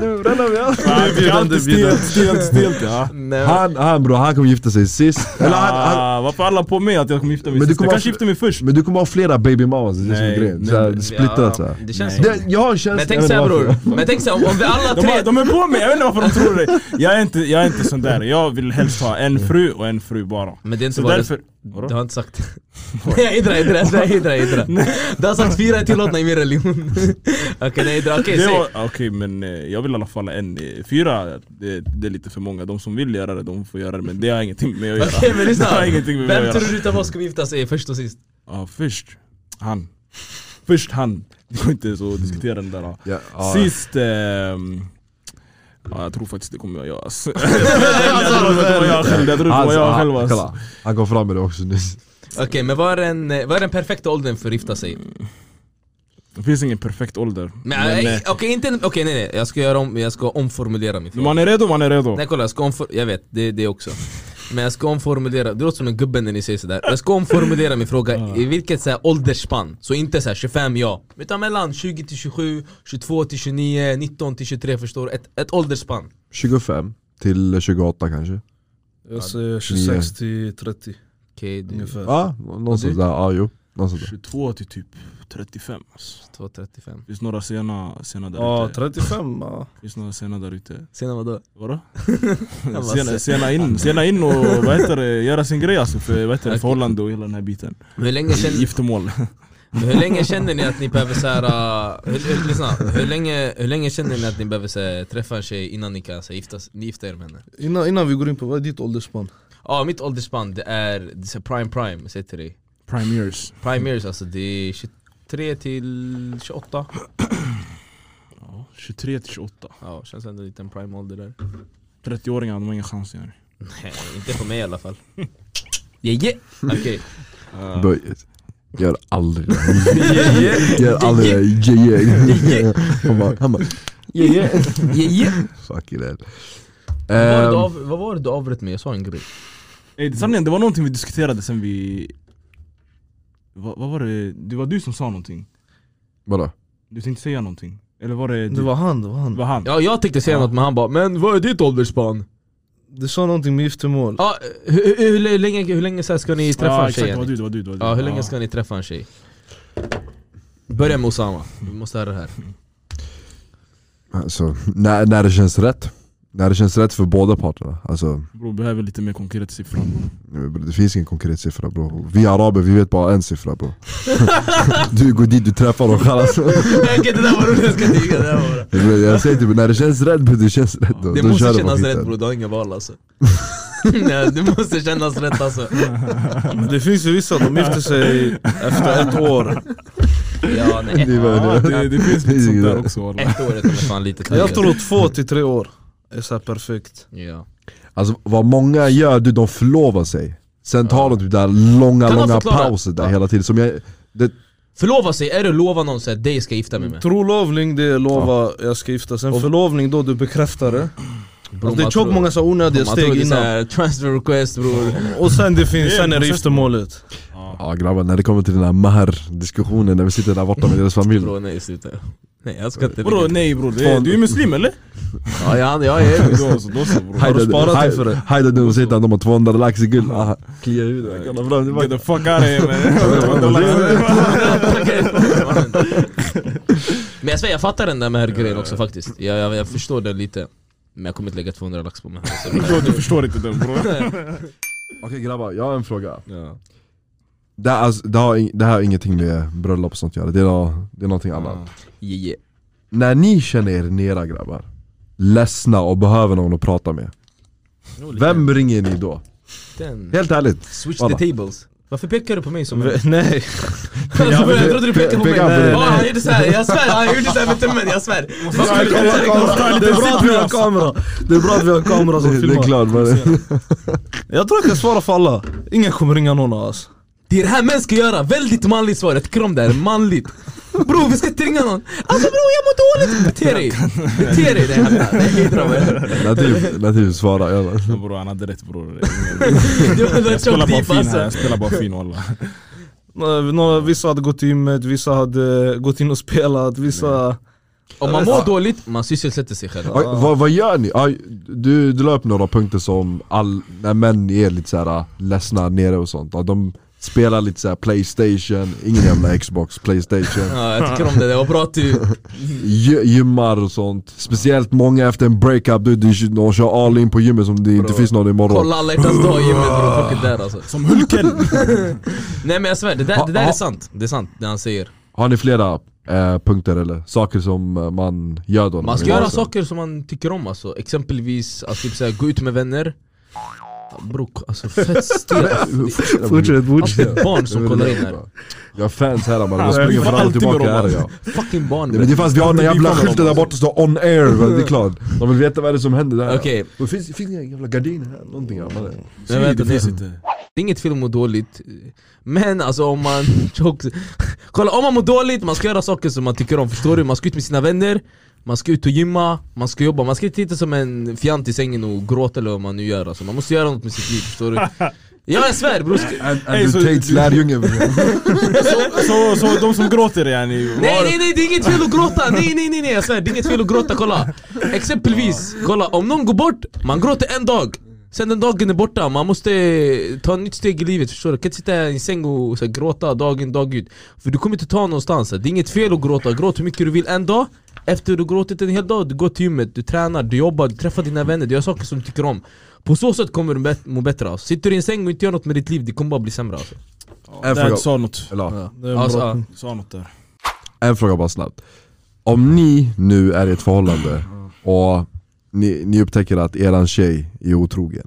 [SPEAKER 1] Du, bröllop, ja."
[SPEAKER 4] Det är alltid
[SPEAKER 2] bjudande.
[SPEAKER 4] stelt, stelt, stelt ja.
[SPEAKER 1] Han, han bror, han kommer gifta sig sist. Eller han, han,
[SPEAKER 4] Ah, varför alla på mig att jag kommer gifta mig
[SPEAKER 1] Men du
[SPEAKER 4] sist?
[SPEAKER 1] kommer ha
[SPEAKER 4] Jag kanske
[SPEAKER 1] fl-
[SPEAKER 4] gifter mig först.
[SPEAKER 1] men du kommer ha flera baby mamas, det är det som är
[SPEAKER 4] Nej,
[SPEAKER 1] grejen.
[SPEAKER 4] nej,
[SPEAKER 1] Såhär
[SPEAKER 4] nej.
[SPEAKER 1] splittrat såhär.
[SPEAKER 3] Det känns
[SPEAKER 1] Det, jag har en känsla,
[SPEAKER 3] Men
[SPEAKER 1] jag vet
[SPEAKER 3] tänk
[SPEAKER 1] inte
[SPEAKER 3] såhär bror,
[SPEAKER 1] varför.
[SPEAKER 3] men tänk såhär om om vi alla
[SPEAKER 4] De, har,
[SPEAKER 3] tre...
[SPEAKER 4] de är på mig, jag vet inte varför de tror det. Jag är inte, jag är inte sån där. Jag vill helst ha en fru och en fru bara.
[SPEAKER 3] Men det är inte
[SPEAKER 4] Så
[SPEAKER 3] bara
[SPEAKER 4] därför...
[SPEAKER 3] Du har inte sagt... Nej idra, idra, idra, idra, idra. Du har sagt fyra är tillåtna i min religion. Okej, nej idra, okej
[SPEAKER 4] Det
[SPEAKER 3] säg.
[SPEAKER 4] var, okej men eh, jag vill i alla fall ha en, eh, fyra det, det är lite för många, de som vill göra det de får göra det men det har ingenting med att göra
[SPEAKER 3] Okej men lyssna.
[SPEAKER 4] Det har ingenting med mig
[SPEAKER 3] Vem
[SPEAKER 4] att göra
[SPEAKER 3] tror du utav oss kommer gifta sig först och sist?
[SPEAKER 4] Ja först, han Först han, det går inte så att diskutera den där ja.
[SPEAKER 1] Ja, ja.
[SPEAKER 4] Sist, ehm, ja, jag tror faktiskt det kommer jag göra alltså. Jag tror det kommer jag själv, jag tror det kommer
[SPEAKER 1] Alltså,
[SPEAKER 4] jag
[SPEAKER 1] han-
[SPEAKER 4] själv alltså.
[SPEAKER 1] kolla, Han kom fram med det också nyss.
[SPEAKER 3] Okej men eh, vad är, den, vad är den perfekta åldern för att gifta sig?
[SPEAKER 4] Det finns ingen perfekt ålder
[SPEAKER 3] Men, eh,
[SPEAKER 4] eh,
[SPEAKER 3] Okej inte, okej nej nej, jag ska, göra om, jag ska omformulera min
[SPEAKER 4] när
[SPEAKER 3] fråga.
[SPEAKER 4] man är redo, man är redo
[SPEAKER 3] Nej kolla, jag ska omfor- jag vet, det, det också Men jag ska omformulera, det låter som en gubbe när ni säger sådär Jag ska omformulera min fråga, i vilket så här, åldersspann? Så inte så här 25 ja, utan mellan 20 till 27, 22 till 29, 19 till 23 förstår du? Ett, ett åldersspann
[SPEAKER 1] 25 till 28 kanske.
[SPEAKER 2] Jag säger 26 till 30
[SPEAKER 3] Okej, du
[SPEAKER 2] ungefär.
[SPEAKER 1] Ja, någonstans där. Ja, jo. Någonstans där.
[SPEAKER 4] 22 till typ 35 alltså.
[SPEAKER 3] 2.35
[SPEAKER 4] Finns några sena, sena där
[SPEAKER 2] Ja,
[SPEAKER 4] ute?
[SPEAKER 2] 35 ja.
[SPEAKER 4] Finns några sena där ute?
[SPEAKER 3] Sen vadå?
[SPEAKER 4] Vadå?
[SPEAKER 3] bara
[SPEAKER 4] sena, sena, in, sena in och vad heter det, göra sin grej alltså för vad heter det, förhållande och hela den här biten
[SPEAKER 3] Hur länge, känner,
[SPEAKER 4] Giftermål
[SPEAKER 3] hur länge känner ni att ni behöver såhär, uh, hur, hur, lyssna, hur länge, hur länge känner ni att ni behöver så här, träffa en tjej innan ni kan så här, gifta, ni gifta er med henne?
[SPEAKER 2] Innan, innan vi går in på, vad är ditt åldersspann?
[SPEAKER 3] Ja, mitt åldersspann det är, det är så här prime prime, jag säger till dig
[SPEAKER 4] Prime years
[SPEAKER 3] Prime years alltså, det är 23 till 28
[SPEAKER 4] ja, 23 till 28
[SPEAKER 3] Ja, känns ändå lite en prime ålder där
[SPEAKER 4] 30-åringar de har ingen chans igen
[SPEAKER 3] Nej, inte för mig i alla fall Yeah, yeah. Okej,
[SPEAKER 1] Böjet. Gör aldrig det. Gör aldrig det. Yeah, yeah. Han bara, han bara, yeah, yeah.
[SPEAKER 3] yeah, yeah. Um,
[SPEAKER 1] Fuck it. Ed.
[SPEAKER 3] Vad var det du
[SPEAKER 1] Ehm,
[SPEAKER 3] av- Vad var det du avbröt med? Jag sa en grej
[SPEAKER 4] Ey, det- Sanningen, det var någonting vi diskuterade sen vi... Vad, vad var det? Det var du som sa någonting
[SPEAKER 1] Vadå?
[SPEAKER 4] Du tänkte säga någonting Eller var det du?
[SPEAKER 2] Det var han, det var
[SPEAKER 4] Det
[SPEAKER 2] han
[SPEAKER 4] var han?
[SPEAKER 3] Ja, jag tänkte säga
[SPEAKER 4] Ja.
[SPEAKER 3] något men han bara 'Men vad är ditt åldersspann?'
[SPEAKER 2] Du sa någonting med giftermål
[SPEAKER 3] Ja, hur, hur, hur länge, hur länge så här ska ni träffa
[SPEAKER 4] ja
[SPEAKER 3] en
[SPEAKER 4] exakt,
[SPEAKER 3] tjej?
[SPEAKER 4] det var
[SPEAKER 3] Jenny?
[SPEAKER 4] du, det var du, det var du.
[SPEAKER 3] Ja, hur länge ska ni träffa en tjej? Börja med Osama, vi måste höra det här
[SPEAKER 1] Alltså, när, när det känns rätt. När det känns rätt för båda parterna. Alltså,
[SPEAKER 4] Bror behöver lite mer konkreta siffror
[SPEAKER 1] det finns ingen konkret siffra bro. Vi araber, vi vet bara en siffra bro. du går dit, du träffar dem chalas.
[SPEAKER 3] Okej det där var roligt, jag ska tyga det där var bra.
[SPEAKER 1] Jag säger typ, när det känns rätt bro, det känns rätt då.
[SPEAKER 3] Det
[SPEAKER 1] då
[SPEAKER 3] måste
[SPEAKER 1] kör de
[SPEAKER 3] kännas
[SPEAKER 1] skiten.
[SPEAKER 3] rätt bror, du har inga val alltså Nej, Det måste kännas rätt alltså
[SPEAKER 2] Men Det finns ju vissa, de gifter sig efter ett år
[SPEAKER 3] Ja, nej.
[SPEAKER 1] Det är bara
[SPEAKER 4] Ja,
[SPEAKER 1] det.
[SPEAKER 4] det, det finns lite sånt där också walla.
[SPEAKER 3] Ett året är fan lite
[SPEAKER 2] Jag tror två till tre år är såhär perfekt
[SPEAKER 3] Ja.
[SPEAKER 1] Alltså vad många gör, du de förlovar sig. Sen tar de typ där långa,
[SPEAKER 3] Kan man
[SPEAKER 1] långa
[SPEAKER 3] förklara?
[SPEAKER 1] pauser där hela tiden. Som jag, det,
[SPEAKER 3] Förlova sig, är det att lova någon så att dig ska jag gifta mig med?
[SPEAKER 2] Alltså, Trolovning det är lova jag ska gifta, sen förlovning då du bekräftar det
[SPEAKER 3] Bro,
[SPEAKER 2] alltså, Det är tjockt många så här onödiga steg innan
[SPEAKER 3] Transfer request bror
[SPEAKER 2] Och sen det finns,
[SPEAKER 4] Det är
[SPEAKER 2] sen är det
[SPEAKER 4] processen.
[SPEAKER 2] giftermålet
[SPEAKER 1] ja grabbar, när det kommer till den här mahr-diskussionen när vi sitter där borta med deras familj.
[SPEAKER 3] Bro nej sluta Nej jag ska inte
[SPEAKER 4] Bror nej bror, det- du är muslim eller?
[SPEAKER 3] Ja jag, jag är
[SPEAKER 4] Då så, då så bror
[SPEAKER 2] Har du sparat inför det?
[SPEAKER 1] Hajda nu, de sitter där, de har 200 lax i guld. Aha, Kliar i huvudet. kolla fram, det
[SPEAKER 4] Get
[SPEAKER 1] var-
[SPEAKER 4] the fuck out of here man
[SPEAKER 3] Men jag svär jag fattar den där med grejen också faktiskt jag, jag, jag förstår den lite Men jag kommer inte lägga 200 lax på mig Alltså, här, så-
[SPEAKER 4] Du förstår inte den bror
[SPEAKER 1] Okej grabbar, jag har en fråga. Det här, alltså, det, har, ing- det här har ingenting med bröllop och sånt att göra, det är, nå- det är någonting annat.
[SPEAKER 3] yeah, yeah.
[SPEAKER 1] När ni känner er nera grabbar, ledsna och behöver någon att prata med,
[SPEAKER 3] Jo, lite
[SPEAKER 1] vem ringer ni då?
[SPEAKER 3] den.
[SPEAKER 1] Helt ärligt.
[SPEAKER 3] Switch
[SPEAKER 1] Walla.
[SPEAKER 3] the tables Varför pekar du på mig som en...
[SPEAKER 2] Nej,
[SPEAKER 3] Alltså, jag trodde du pekade på mig.
[SPEAKER 1] Peka på
[SPEAKER 3] Nej.
[SPEAKER 1] dig.
[SPEAKER 3] Ja, han gjorde såhär, jag svär, han gjorde såhär med tummen, jag svär.
[SPEAKER 1] Det är bra att vi har kamera! Det är bra att vi har kamera
[SPEAKER 3] Alltså,
[SPEAKER 2] som
[SPEAKER 1] Det är
[SPEAKER 2] filmar.
[SPEAKER 1] klart mannen.
[SPEAKER 2] jag tror jag kan svara för alla. Ingen kommer ringa någon av oss.
[SPEAKER 3] Det är det här män ska göra, väldigt manligt svar, ett kram där, manligt. Bror vi ska inte ringa någon. Alltså bror jag mår dåligt, bete dig. Bete dig där hemma. Nej grabbar.
[SPEAKER 1] Nativ, Nativ svara. Jag bara,
[SPEAKER 4] Bror han hade rätt bror.
[SPEAKER 3] Det var en
[SPEAKER 4] Jag spelar
[SPEAKER 3] tjock
[SPEAKER 4] bara
[SPEAKER 3] deep
[SPEAKER 4] fin här,
[SPEAKER 3] alltså.
[SPEAKER 4] jag spelar bara fin walla.
[SPEAKER 2] Nå- nå- Vissa hade gått till gymmet, vissa hade eh, gått in och spelat, vissa...
[SPEAKER 3] Om man mår dåligt, man sysselsätter sig själv.
[SPEAKER 1] Oj, vad, vad gör ni? Aj, Du, du la upp några punkter som all, när män är lite såhär ledsna nere och sånt. Ja, De spelar lite såhär Playstation, ingen jävla Xbox, Playstation.
[SPEAKER 3] Ja, jag tycker om det, det var bra att du...
[SPEAKER 1] Gy- Gymmar och sånt. Speciellt många efter en breakup, du, du, de kör all in på gymmet som det inte finns någon imorgon.
[SPEAKER 3] Kolla alla hjärtans dag i gymmet bror, folk är där alltså.
[SPEAKER 4] Som Hulken!
[SPEAKER 3] Nej men jag svär, det där, det där
[SPEAKER 1] Ja,
[SPEAKER 3] är
[SPEAKER 1] ja.
[SPEAKER 3] sant. Det är sant, det han säger.
[SPEAKER 1] Har ni flera eh, punkter eller saker som eh, man gör då? när
[SPEAKER 3] Man ska
[SPEAKER 1] är
[SPEAKER 3] göra
[SPEAKER 1] ledsen?
[SPEAKER 3] saker som man tycker om alltså. Exempelvis att typ såhär, gå ut med vänner. Bror, alltså fett stel.
[SPEAKER 1] Fortsätt,
[SPEAKER 3] Allt Alltså, är barn som kollar in här.
[SPEAKER 1] Jag har fans här mannen, de
[SPEAKER 4] Ja, vi
[SPEAKER 1] springer
[SPEAKER 4] får
[SPEAKER 1] fram och
[SPEAKER 4] alltid med
[SPEAKER 1] tillbaka
[SPEAKER 4] dem,
[SPEAKER 1] här
[SPEAKER 4] alltså.
[SPEAKER 1] ja.
[SPEAKER 3] Fucking barn
[SPEAKER 1] Nej, men det är
[SPEAKER 3] bror.
[SPEAKER 1] fast vi har den
[SPEAKER 4] Det blir
[SPEAKER 1] jävla
[SPEAKER 4] fan
[SPEAKER 1] skylten
[SPEAKER 4] dem,
[SPEAKER 1] där borta som står on air, va? det är klart. De vill veta vad det är som händer där.
[SPEAKER 3] Okej.
[SPEAKER 1] Det finns, finns inga jävla gardiner här, någonting här. mannen.
[SPEAKER 3] Men vänta,
[SPEAKER 4] Det finns
[SPEAKER 3] det,
[SPEAKER 4] inte.
[SPEAKER 3] det är inget fel att må dåligt Men alltså om man... Kolla om man mår dåligt, man ska göra saker som man tycker om, förstår du? Man ska ut med sina vänner man ska ut och gymma, man ska jobba, man ska inte sitta som en fjant i sängen och gråta eller vad man nu gör alltså. Man måste göra något med sitt liv, förstår du? Ja jag svär bror! ska-
[SPEAKER 1] And,
[SPEAKER 4] Ey,
[SPEAKER 1] and
[SPEAKER 4] så-
[SPEAKER 1] du Tates lärjunge.
[SPEAKER 4] Så, så de som gråter yani,
[SPEAKER 3] Nej nej nej det är inget fel att gråta, nej nej nej nej jag svär, det är inget fel att gråta, kolla! Exempelvis, kolla om någon går bort, man gråter en dag Sen den dagen är borta, man måste ta ett nytt steg i livet förstår du? Kan inte sitta i en säng och så här, gråta dag in dag ut För du kommer inte ta någonstans, det är inget fel att gråta, gråt hur mycket du vill en dag Efter du gråtit en hel dag, du går till gymmet, du tränar, du jobbar, du träffar dina vänner, du gör saker som du tycker om På så sätt kommer du bet- må bättre alltså. Sitter du i en säng och inte gör något med ditt liv, det kommer bara bli sämre alltså.
[SPEAKER 1] En
[SPEAKER 4] Dad
[SPEAKER 1] fråga,
[SPEAKER 4] sa något.
[SPEAKER 1] eller,
[SPEAKER 2] Det är en
[SPEAKER 3] Alltså,
[SPEAKER 2] bra-
[SPEAKER 3] ja.
[SPEAKER 4] Sa något där.
[SPEAKER 1] en fråga bara snabbt. Om ni nu är i ett förhållande och ni, ni upptäcker att eran tjej är otrogen.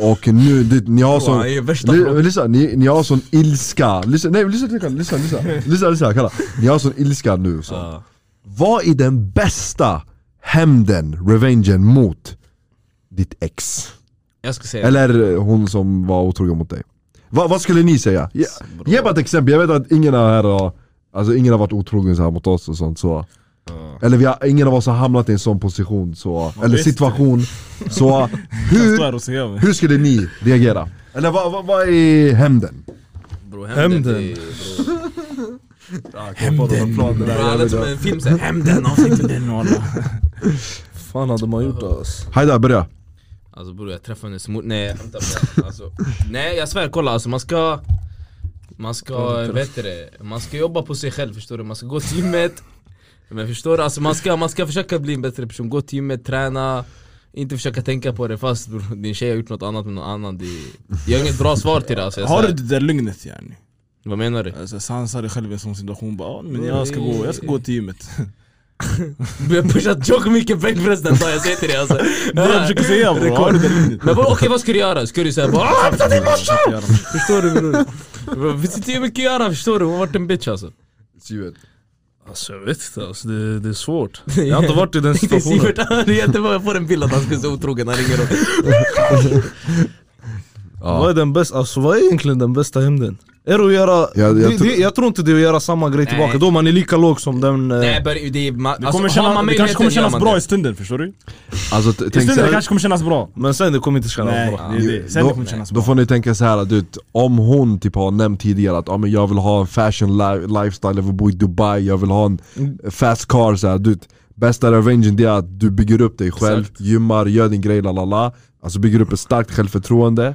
[SPEAKER 1] Och nu, det, ni har sån...
[SPEAKER 3] är värsta
[SPEAKER 1] Ly- men Lyssna, ni, ni har sån ilska, lyssna, nej lyssna lyssna, lyssna, lyssna, lyssna, lyssna, kalla. Ni har sån ilska nu så. Vad är den bästa hämnden, revengen mot ditt ex?
[SPEAKER 3] Jag ska säga
[SPEAKER 1] Eller eh, hon som var otrogen mot dig. Va, vad skulle ni säga? Ge, ge bara ett exempel, jag vet att ingen av er har, alltså ingen har varit otrogen så här mot oss och sånt så. Eller vi har, ingen av oss har hamnat i en sån position så, eller
[SPEAKER 4] visst.
[SPEAKER 1] situation. Så
[SPEAKER 4] Jag
[SPEAKER 1] hur,
[SPEAKER 4] står här och ser mig.
[SPEAKER 1] hur skulle ni reagera? Eller vad, vad, vad är hämnden?
[SPEAKER 3] bror,
[SPEAKER 2] Hämnden.
[SPEAKER 3] det är- bror.
[SPEAKER 1] Hämnden!
[SPEAKER 3] Bra, det är som en film såhär, hämnden
[SPEAKER 2] fan hade man gjort alltså?
[SPEAKER 1] Haida, börja!
[SPEAKER 3] Alltså bror jag träffade hennes mor, nej vänta bara. alltså, Nej jag svär kolla alltså man ska Man ska, vet du det, man ska jobba på sig själv förstår du, man ska gå till gymmet Men förstår du, alltså man ska, man ska försöka bli en bättre person, gå till gymmet, träna inte försöka tänka på det fast bror, din tjej har gjort något annat med någon annan det, Jag har inget bra svar till det alltså, jag
[SPEAKER 4] Har du
[SPEAKER 3] svär.
[SPEAKER 4] det där lugnet yani?
[SPEAKER 3] Vad menar du?
[SPEAKER 4] Alltså, sansa dig själv i en sån situation bara "Ja, men jag ska gå, jag ska gå till gymmet.
[SPEAKER 3] Du har pushat tjockt mycket bänkpress den dagen, jag säger till dig alltså
[SPEAKER 4] Det är det jag försöker säga bror, har du det där lugnet?
[SPEAKER 3] Men vad- okej vad ska du göra? Ska du säga bara "Ah, hämta din morsa? Förstår du bror? Vi sitter ju mycket att göra förstår du, hon har varit en bitch alltså
[SPEAKER 2] Alltså jag vet inte alltså, det, det är svårt. Jag har inte varit i den
[SPEAKER 3] Tänkte
[SPEAKER 2] situationen.
[SPEAKER 3] Sivert, han är jättebra, jag får en bild att han skulle vara otrogen, han ringer upp
[SPEAKER 2] Vad är den bästa, alltså vad är egentligen den bästa hämnden? Är det att göra,
[SPEAKER 1] jag
[SPEAKER 2] det,
[SPEAKER 1] tror-
[SPEAKER 2] det, jag tror inte det är att göra samma grej tillbaka, då man är lika låg som den... eh,
[SPEAKER 3] Nej Berg, det är, man,
[SPEAKER 4] Det,
[SPEAKER 3] alltså,
[SPEAKER 4] kommer
[SPEAKER 3] har
[SPEAKER 4] känna,
[SPEAKER 3] man
[SPEAKER 4] det kanske kommer
[SPEAKER 3] möjligheten gör
[SPEAKER 4] kännas
[SPEAKER 3] man
[SPEAKER 4] bra i
[SPEAKER 3] det
[SPEAKER 4] stunden, förstår du?
[SPEAKER 1] Alltså t- tänk
[SPEAKER 4] I stunden det
[SPEAKER 1] såhär,
[SPEAKER 4] kanske kommer kännas bra.
[SPEAKER 2] Men sen det kommer inte kännas
[SPEAKER 4] Nej,
[SPEAKER 2] bra.
[SPEAKER 4] det är det. Sen det
[SPEAKER 1] då,
[SPEAKER 4] kommer kännas
[SPEAKER 1] då
[SPEAKER 4] bra.
[SPEAKER 1] får ni tänka så här att du, vet, om hon typ har nämnt tidigare att ah, men jag vill ha en fashion li- lifestyle, jag vill bo i Dubai, jag vill ha en
[SPEAKER 4] Mm.
[SPEAKER 1] fast car så här, du, vet, Bästa revengen det är att du bygger upp dig själv, gymmar, gör din grej, la la la Alltså bygger upp ett starkt självförtroende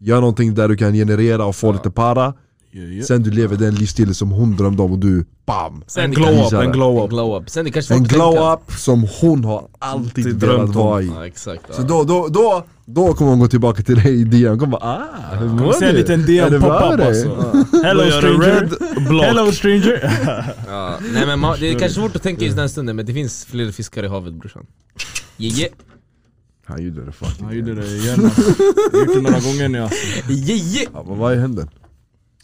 [SPEAKER 1] Gör någonting där du kan generera och få lite para
[SPEAKER 4] Ja, ja.
[SPEAKER 1] Sen du lever den livsstilen som hon drömde om och du BAM!
[SPEAKER 3] Sen
[SPEAKER 2] En
[SPEAKER 3] det
[SPEAKER 2] glow
[SPEAKER 3] kanske-
[SPEAKER 2] up, en glow
[SPEAKER 3] En
[SPEAKER 2] up.
[SPEAKER 3] glow up, sen det kanske
[SPEAKER 1] En
[SPEAKER 3] folk tänker-
[SPEAKER 1] glow-up som hon har alltid
[SPEAKER 2] Alltid
[SPEAKER 1] velat
[SPEAKER 2] drömt om.
[SPEAKER 1] vara i
[SPEAKER 3] Ja exakt ja.
[SPEAKER 1] så då, då, då, då kommer hon gå tillbaka till dig i DM, kommer bara ah, hur mår
[SPEAKER 4] Kommer se en
[SPEAKER 1] du?
[SPEAKER 4] liten
[SPEAKER 1] Är det bra
[SPEAKER 4] DM poppa
[SPEAKER 1] med
[SPEAKER 4] upp
[SPEAKER 1] dig?
[SPEAKER 4] alltså.
[SPEAKER 2] Då
[SPEAKER 4] Hello
[SPEAKER 2] gör du
[SPEAKER 4] stranger.
[SPEAKER 2] red block.
[SPEAKER 4] Hello stranger.
[SPEAKER 3] ja. Nej men man, det är kanske svårt att tänka i den stunden men det finns fler fiskar i havet brorsan Jeje,
[SPEAKER 1] Han gjorde det fucking
[SPEAKER 4] Han gjorde det igen. alltså. Jag har gjort det några gånger nu alltså.
[SPEAKER 3] jeje!
[SPEAKER 1] ja, men Vad är händer?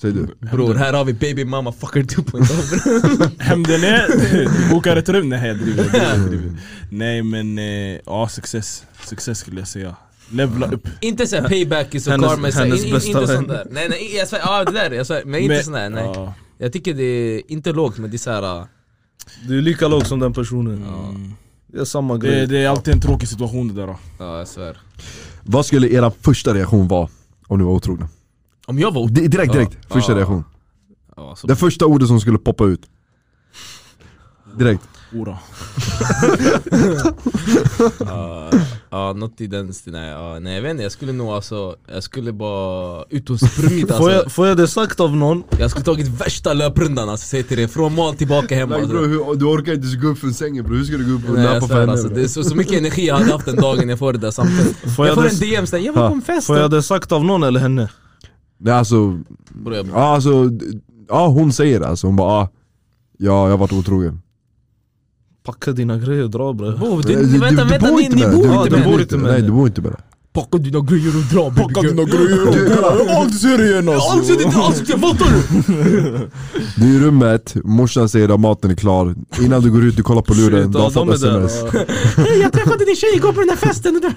[SPEAKER 1] Säger du?
[SPEAKER 3] Bror, här har vi baby mama fucker 2.0
[SPEAKER 4] Hämnden är... Du bokar ett rum? Nej jag driver, jag driver, jag driver. Nej men, eh, ja success. Success skulle jag säga. Levla upp.
[SPEAKER 3] Inte såhär payback is a
[SPEAKER 2] Hennes-
[SPEAKER 3] karma, så här,
[SPEAKER 2] hennes
[SPEAKER 3] in, in,
[SPEAKER 2] bästa
[SPEAKER 3] inte
[SPEAKER 2] vän.
[SPEAKER 3] sånt där Nej nej, jag svär, ja det där, jag svär, men inte
[SPEAKER 4] Men-
[SPEAKER 3] sån där, nej
[SPEAKER 4] Ja.
[SPEAKER 3] Jag tycker det är inte lågt men det är såhär
[SPEAKER 2] Du är lika låg som den personen. Det är samma grej.
[SPEAKER 4] Det, det är alltid en tråkig situation det där. då.
[SPEAKER 3] Ja jag svär
[SPEAKER 1] Vad skulle era första reaktion vara om ni var otrogna?
[SPEAKER 3] Om jag var ot-
[SPEAKER 1] Di- Direkt, direkt.
[SPEAKER 3] Ja.
[SPEAKER 1] Första
[SPEAKER 3] Ja.
[SPEAKER 1] reaktion.
[SPEAKER 3] ja, så,
[SPEAKER 1] Det första ordet som skulle poppa ut. Direkt.
[SPEAKER 4] Ora.
[SPEAKER 3] ja, ja, något i den stilen, ja, nej jag vet inte, jag skulle nog alltså Jag skulle bara ut och sprungit
[SPEAKER 2] Får,
[SPEAKER 3] alltså
[SPEAKER 2] jag, får jag det sagt av någon?
[SPEAKER 3] Jag skulle tagit värsta löprundan alltså, säg till dig, från mål tillbaka hem
[SPEAKER 1] Like,
[SPEAKER 3] alltså.
[SPEAKER 1] bro, hur, du orkar inte ens gå upp från sängen bro, hur ska du gå upp och
[SPEAKER 3] Nej, jag
[SPEAKER 1] nappa för
[SPEAKER 3] svär,
[SPEAKER 1] henne?
[SPEAKER 3] alltså,
[SPEAKER 1] bro?
[SPEAKER 3] det är så, så mycket energi jag hade haft den dagen jag får det där samtalet
[SPEAKER 2] Får
[SPEAKER 3] Jag
[SPEAKER 2] jag,
[SPEAKER 3] får
[SPEAKER 2] det,
[SPEAKER 3] en DM såhär, jag var på en fest
[SPEAKER 2] får jag det sagt av någon eller henne?
[SPEAKER 1] Nej alltså,
[SPEAKER 3] Bror, jag-
[SPEAKER 1] ja alltså, d- ja hon säger det alltså, hon bara ah, ja, jag har varit otrogen.
[SPEAKER 2] Packa dina grejer och dra bre.
[SPEAKER 3] Bror,
[SPEAKER 1] Du,
[SPEAKER 3] "Oh, du, vänta, vänta, ni, ni
[SPEAKER 1] henne.
[SPEAKER 3] bor
[SPEAKER 2] Du-
[SPEAKER 3] inte
[SPEAKER 2] du
[SPEAKER 3] med
[SPEAKER 2] bor
[SPEAKER 3] henne.
[SPEAKER 2] inte med
[SPEAKER 1] Nej
[SPEAKER 2] henne.
[SPEAKER 1] du bor inte med henne.
[SPEAKER 3] Packa dina grejer och dra baby
[SPEAKER 4] Packa
[SPEAKER 3] girl.
[SPEAKER 4] dina grejer och dra. Jag har aldrig ser dig igen
[SPEAKER 3] Jag har aldrig
[SPEAKER 4] alltså.
[SPEAKER 3] sett ditt ansikte, fattar du?
[SPEAKER 1] Du är i rummet, morsan säger att maten är klar, innan du går ut du kollar på luren,
[SPEAKER 2] Shit,
[SPEAKER 1] du
[SPEAKER 2] ja,
[SPEAKER 1] har
[SPEAKER 2] de
[SPEAKER 1] fått
[SPEAKER 2] är där.
[SPEAKER 1] sms.
[SPEAKER 2] ja.
[SPEAKER 3] Hej jag träffade din tjej igår på den här festen och där.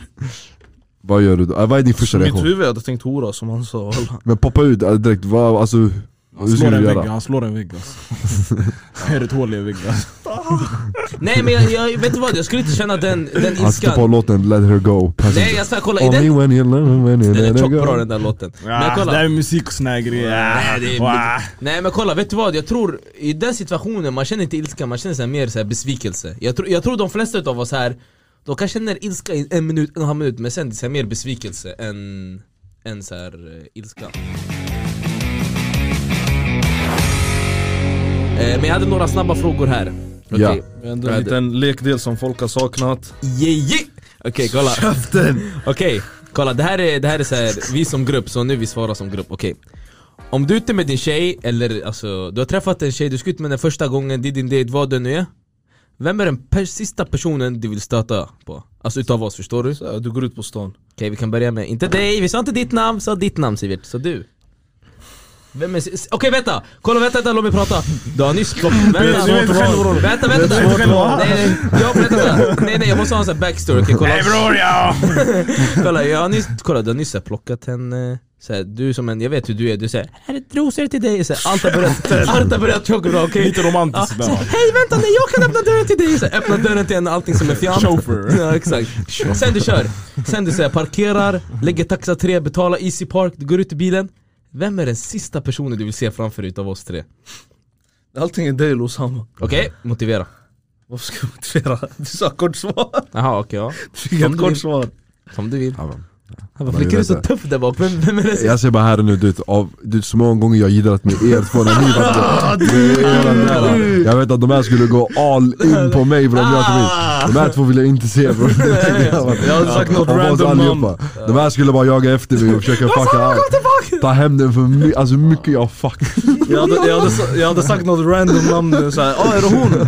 [SPEAKER 1] Vad gör du då? Ah, Vad är din första
[SPEAKER 2] Mitt
[SPEAKER 1] reaktion?
[SPEAKER 2] huvud hade tänkt hora som han sa. walla.
[SPEAKER 1] Men poppa ut ah, direkt, vad, alltså,
[SPEAKER 4] Han
[SPEAKER 1] hur ska
[SPEAKER 4] slår en
[SPEAKER 1] du
[SPEAKER 4] vägg,
[SPEAKER 1] göra?
[SPEAKER 4] han slår en vägg alltså. Han gör ett hål i en vägg alltså.
[SPEAKER 3] Nej men jag, jag, vet du vad? Jag skulle inte känna den,
[SPEAKER 1] Han
[SPEAKER 3] den
[SPEAKER 1] sätter Alltså, på
[SPEAKER 3] ilskan.
[SPEAKER 1] låten 'Let her go'
[SPEAKER 3] Nej jag svär, kolla i
[SPEAKER 1] Only
[SPEAKER 3] den...
[SPEAKER 1] when you love her, when you
[SPEAKER 3] Den är
[SPEAKER 1] let her
[SPEAKER 3] tjock bra
[SPEAKER 1] go
[SPEAKER 3] den där låten. Men
[SPEAKER 4] Ah, det här
[SPEAKER 3] kolla.
[SPEAKER 4] är musik och såna här grejer.
[SPEAKER 3] Nej, det är-
[SPEAKER 4] Ah.
[SPEAKER 3] Nej men kolla, vet du vad? Jag tror i den situationen, man känner inte ilska, man känner så här mer så här besvikelse. Jag, tror jag tror de flesta av oss här, de kanske känner ilska i en minut, en och en halv minut, men sen det är så här mer besvikelse än, än så här, eh, ilska. Eh, men jag hade några snabba frågor här. Okej,
[SPEAKER 1] Ja.
[SPEAKER 2] Det är ändå en liten lekdel som folk har saknat.
[SPEAKER 3] yeah, yeah. Okej, kolla. Okej, kolla det här är, det här är så här, vi som grupp, så nu vi svarar som grupp, okej Om du är ute med din tjej, eller alltså du har träffat en tjej, du ska ut med den första gången, det är din dejt, vad det nu är Vem är den per- sista personen du vill stöta på? Alltså utav oss, förstår du? Okej,
[SPEAKER 2] Så här, du går ut på stan.
[SPEAKER 3] vi kan börja med, inte dig, vi sa inte ditt namn, sa ditt namn Sivert, så du vem är, s- okej vänta, kolla vänta, vänta låt mig prata Du har nyss kommit, vänta,
[SPEAKER 4] du vet
[SPEAKER 3] vänta,
[SPEAKER 4] själv vad
[SPEAKER 3] vänta,
[SPEAKER 4] du-
[SPEAKER 3] vänta,
[SPEAKER 4] du vet själv vad-
[SPEAKER 3] Nej, nej, jag, vänta, nej, nej jag måste ha en sån här backstory, okej kolla
[SPEAKER 4] Nej bror ja!
[SPEAKER 3] Kolla, jag har nyss, kolla du har nyss så här plockat henne, så här, du är som en, jag vet hur du är, du säger här är rosor till dig, så här, allt har börjat, allt har börjat tjockla, okej?
[SPEAKER 4] Lite romantiskt
[SPEAKER 3] Ja, så här,
[SPEAKER 4] sådär.
[SPEAKER 3] Hej vänta nej jag kan öppna dörren till dig! Så här, öppna dörren till henne, allting som är fjant.
[SPEAKER 4] Chauffeur.
[SPEAKER 3] Ja exakt. Sen du kör, sen du säger parkerar, lägger taxa 3, betalar Easy Park, du går ut i bilen. Vem är den sista personen du vill se framför dig utav oss tre?
[SPEAKER 2] Allting är dig eller Osama.
[SPEAKER 3] Okej, motivera.
[SPEAKER 2] Varför ska jag motivera? Du sa kort svar.
[SPEAKER 3] Jaha okej
[SPEAKER 2] Du fick ett kort svar.
[SPEAKER 3] ja, som du vill.
[SPEAKER 1] Ja, men.
[SPEAKER 3] Han bara, flickar du så tuff där bak? Vem, vem är det?
[SPEAKER 1] Jag säger bara här och nu, du vet, av, du vet, så många gånger jag gillat med er två när ni var med era där. Jag vet att de här skulle gå all in på mig bror om jag kom
[SPEAKER 3] Ah.
[SPEAKER 1] hit. De här två vill jag inte se bror.
[SPEAKER 2] Jag hade sagt något
[SPEAKER 1] Av oss
[SPEAKER 2] random namn.
[SPEAKER 1] allihopa. De här skulle bara jaga efter mig och försöka fucka allt. Ta hem den för my- alltså hur mycket jag fuck.
[SPEAKER 2] Jag hade, jag, hade, sa- jag hade sagt något random namn såhär, ah är det hon?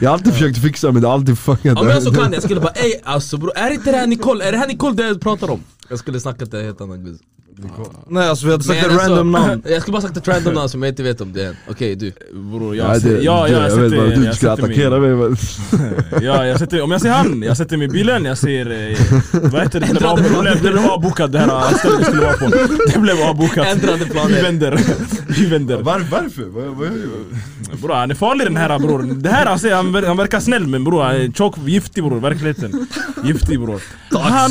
[SPEAKER 1] Jag har alltid försökt fixa men det har alltid fuckat.
[SPEAKER 3] Om jag så kan alltså, jag skulle bara ey alltså bror, är inte det här Nicole? Är det här Nicole det jag pratar om? Jag skulle snackat en helt annan guzz
[SPEAKER 2] Nej alltså vi hade sagt
[SPEAKER 3] Men
[SPEAKER 2] ett random
[SPEAKER 3] alltså,
[SPEAKER 2] namn.
[SPEAKER 3] Jag skulle bara sagt ett random namn som jag inte vet om det är Okej du,
[SPEAKER 4] Bror
[SPEAKER 1] Ja,
[SPEAKER 4] jag,
[SPEAKER 1] det,
[SPEAKER 4] ser-
[SPEAKER 1] det,
[SPEAKER 4] ja, jag,
[SPEAKER 1] jag vet bara
[SPEAKER 4] sätter-
[SPEAKER 1] att du
[SPEAKER 4] jag
[SPEAKER 1] inte ska
[SPEAKER 4] sätter mig-
[SPEAKER 1] attackera mig. men-
[SPEAKER 4] Ja, jag sätter, om jag ser han, jag sätter mig i bilen, jag ser... Eh, vad heter det? Det blev, av, det, blev, det blev avbokat det här eh, stället vi skulle vara på. Det blev avbokat.
[SPEAKER 3] Ändrade planer.
[SPEAKER 4] Vi vänder. Vi vänder.
[SPEAKER 1] Var, varför? Vad, vad gör jag?
[SPEAKER 4] Bror han är farlig den här bror. Det här alltså, han, ver- han verkar snäll men bror han är tjock, giftig bror. Verkligheten. Giftig bror. Han,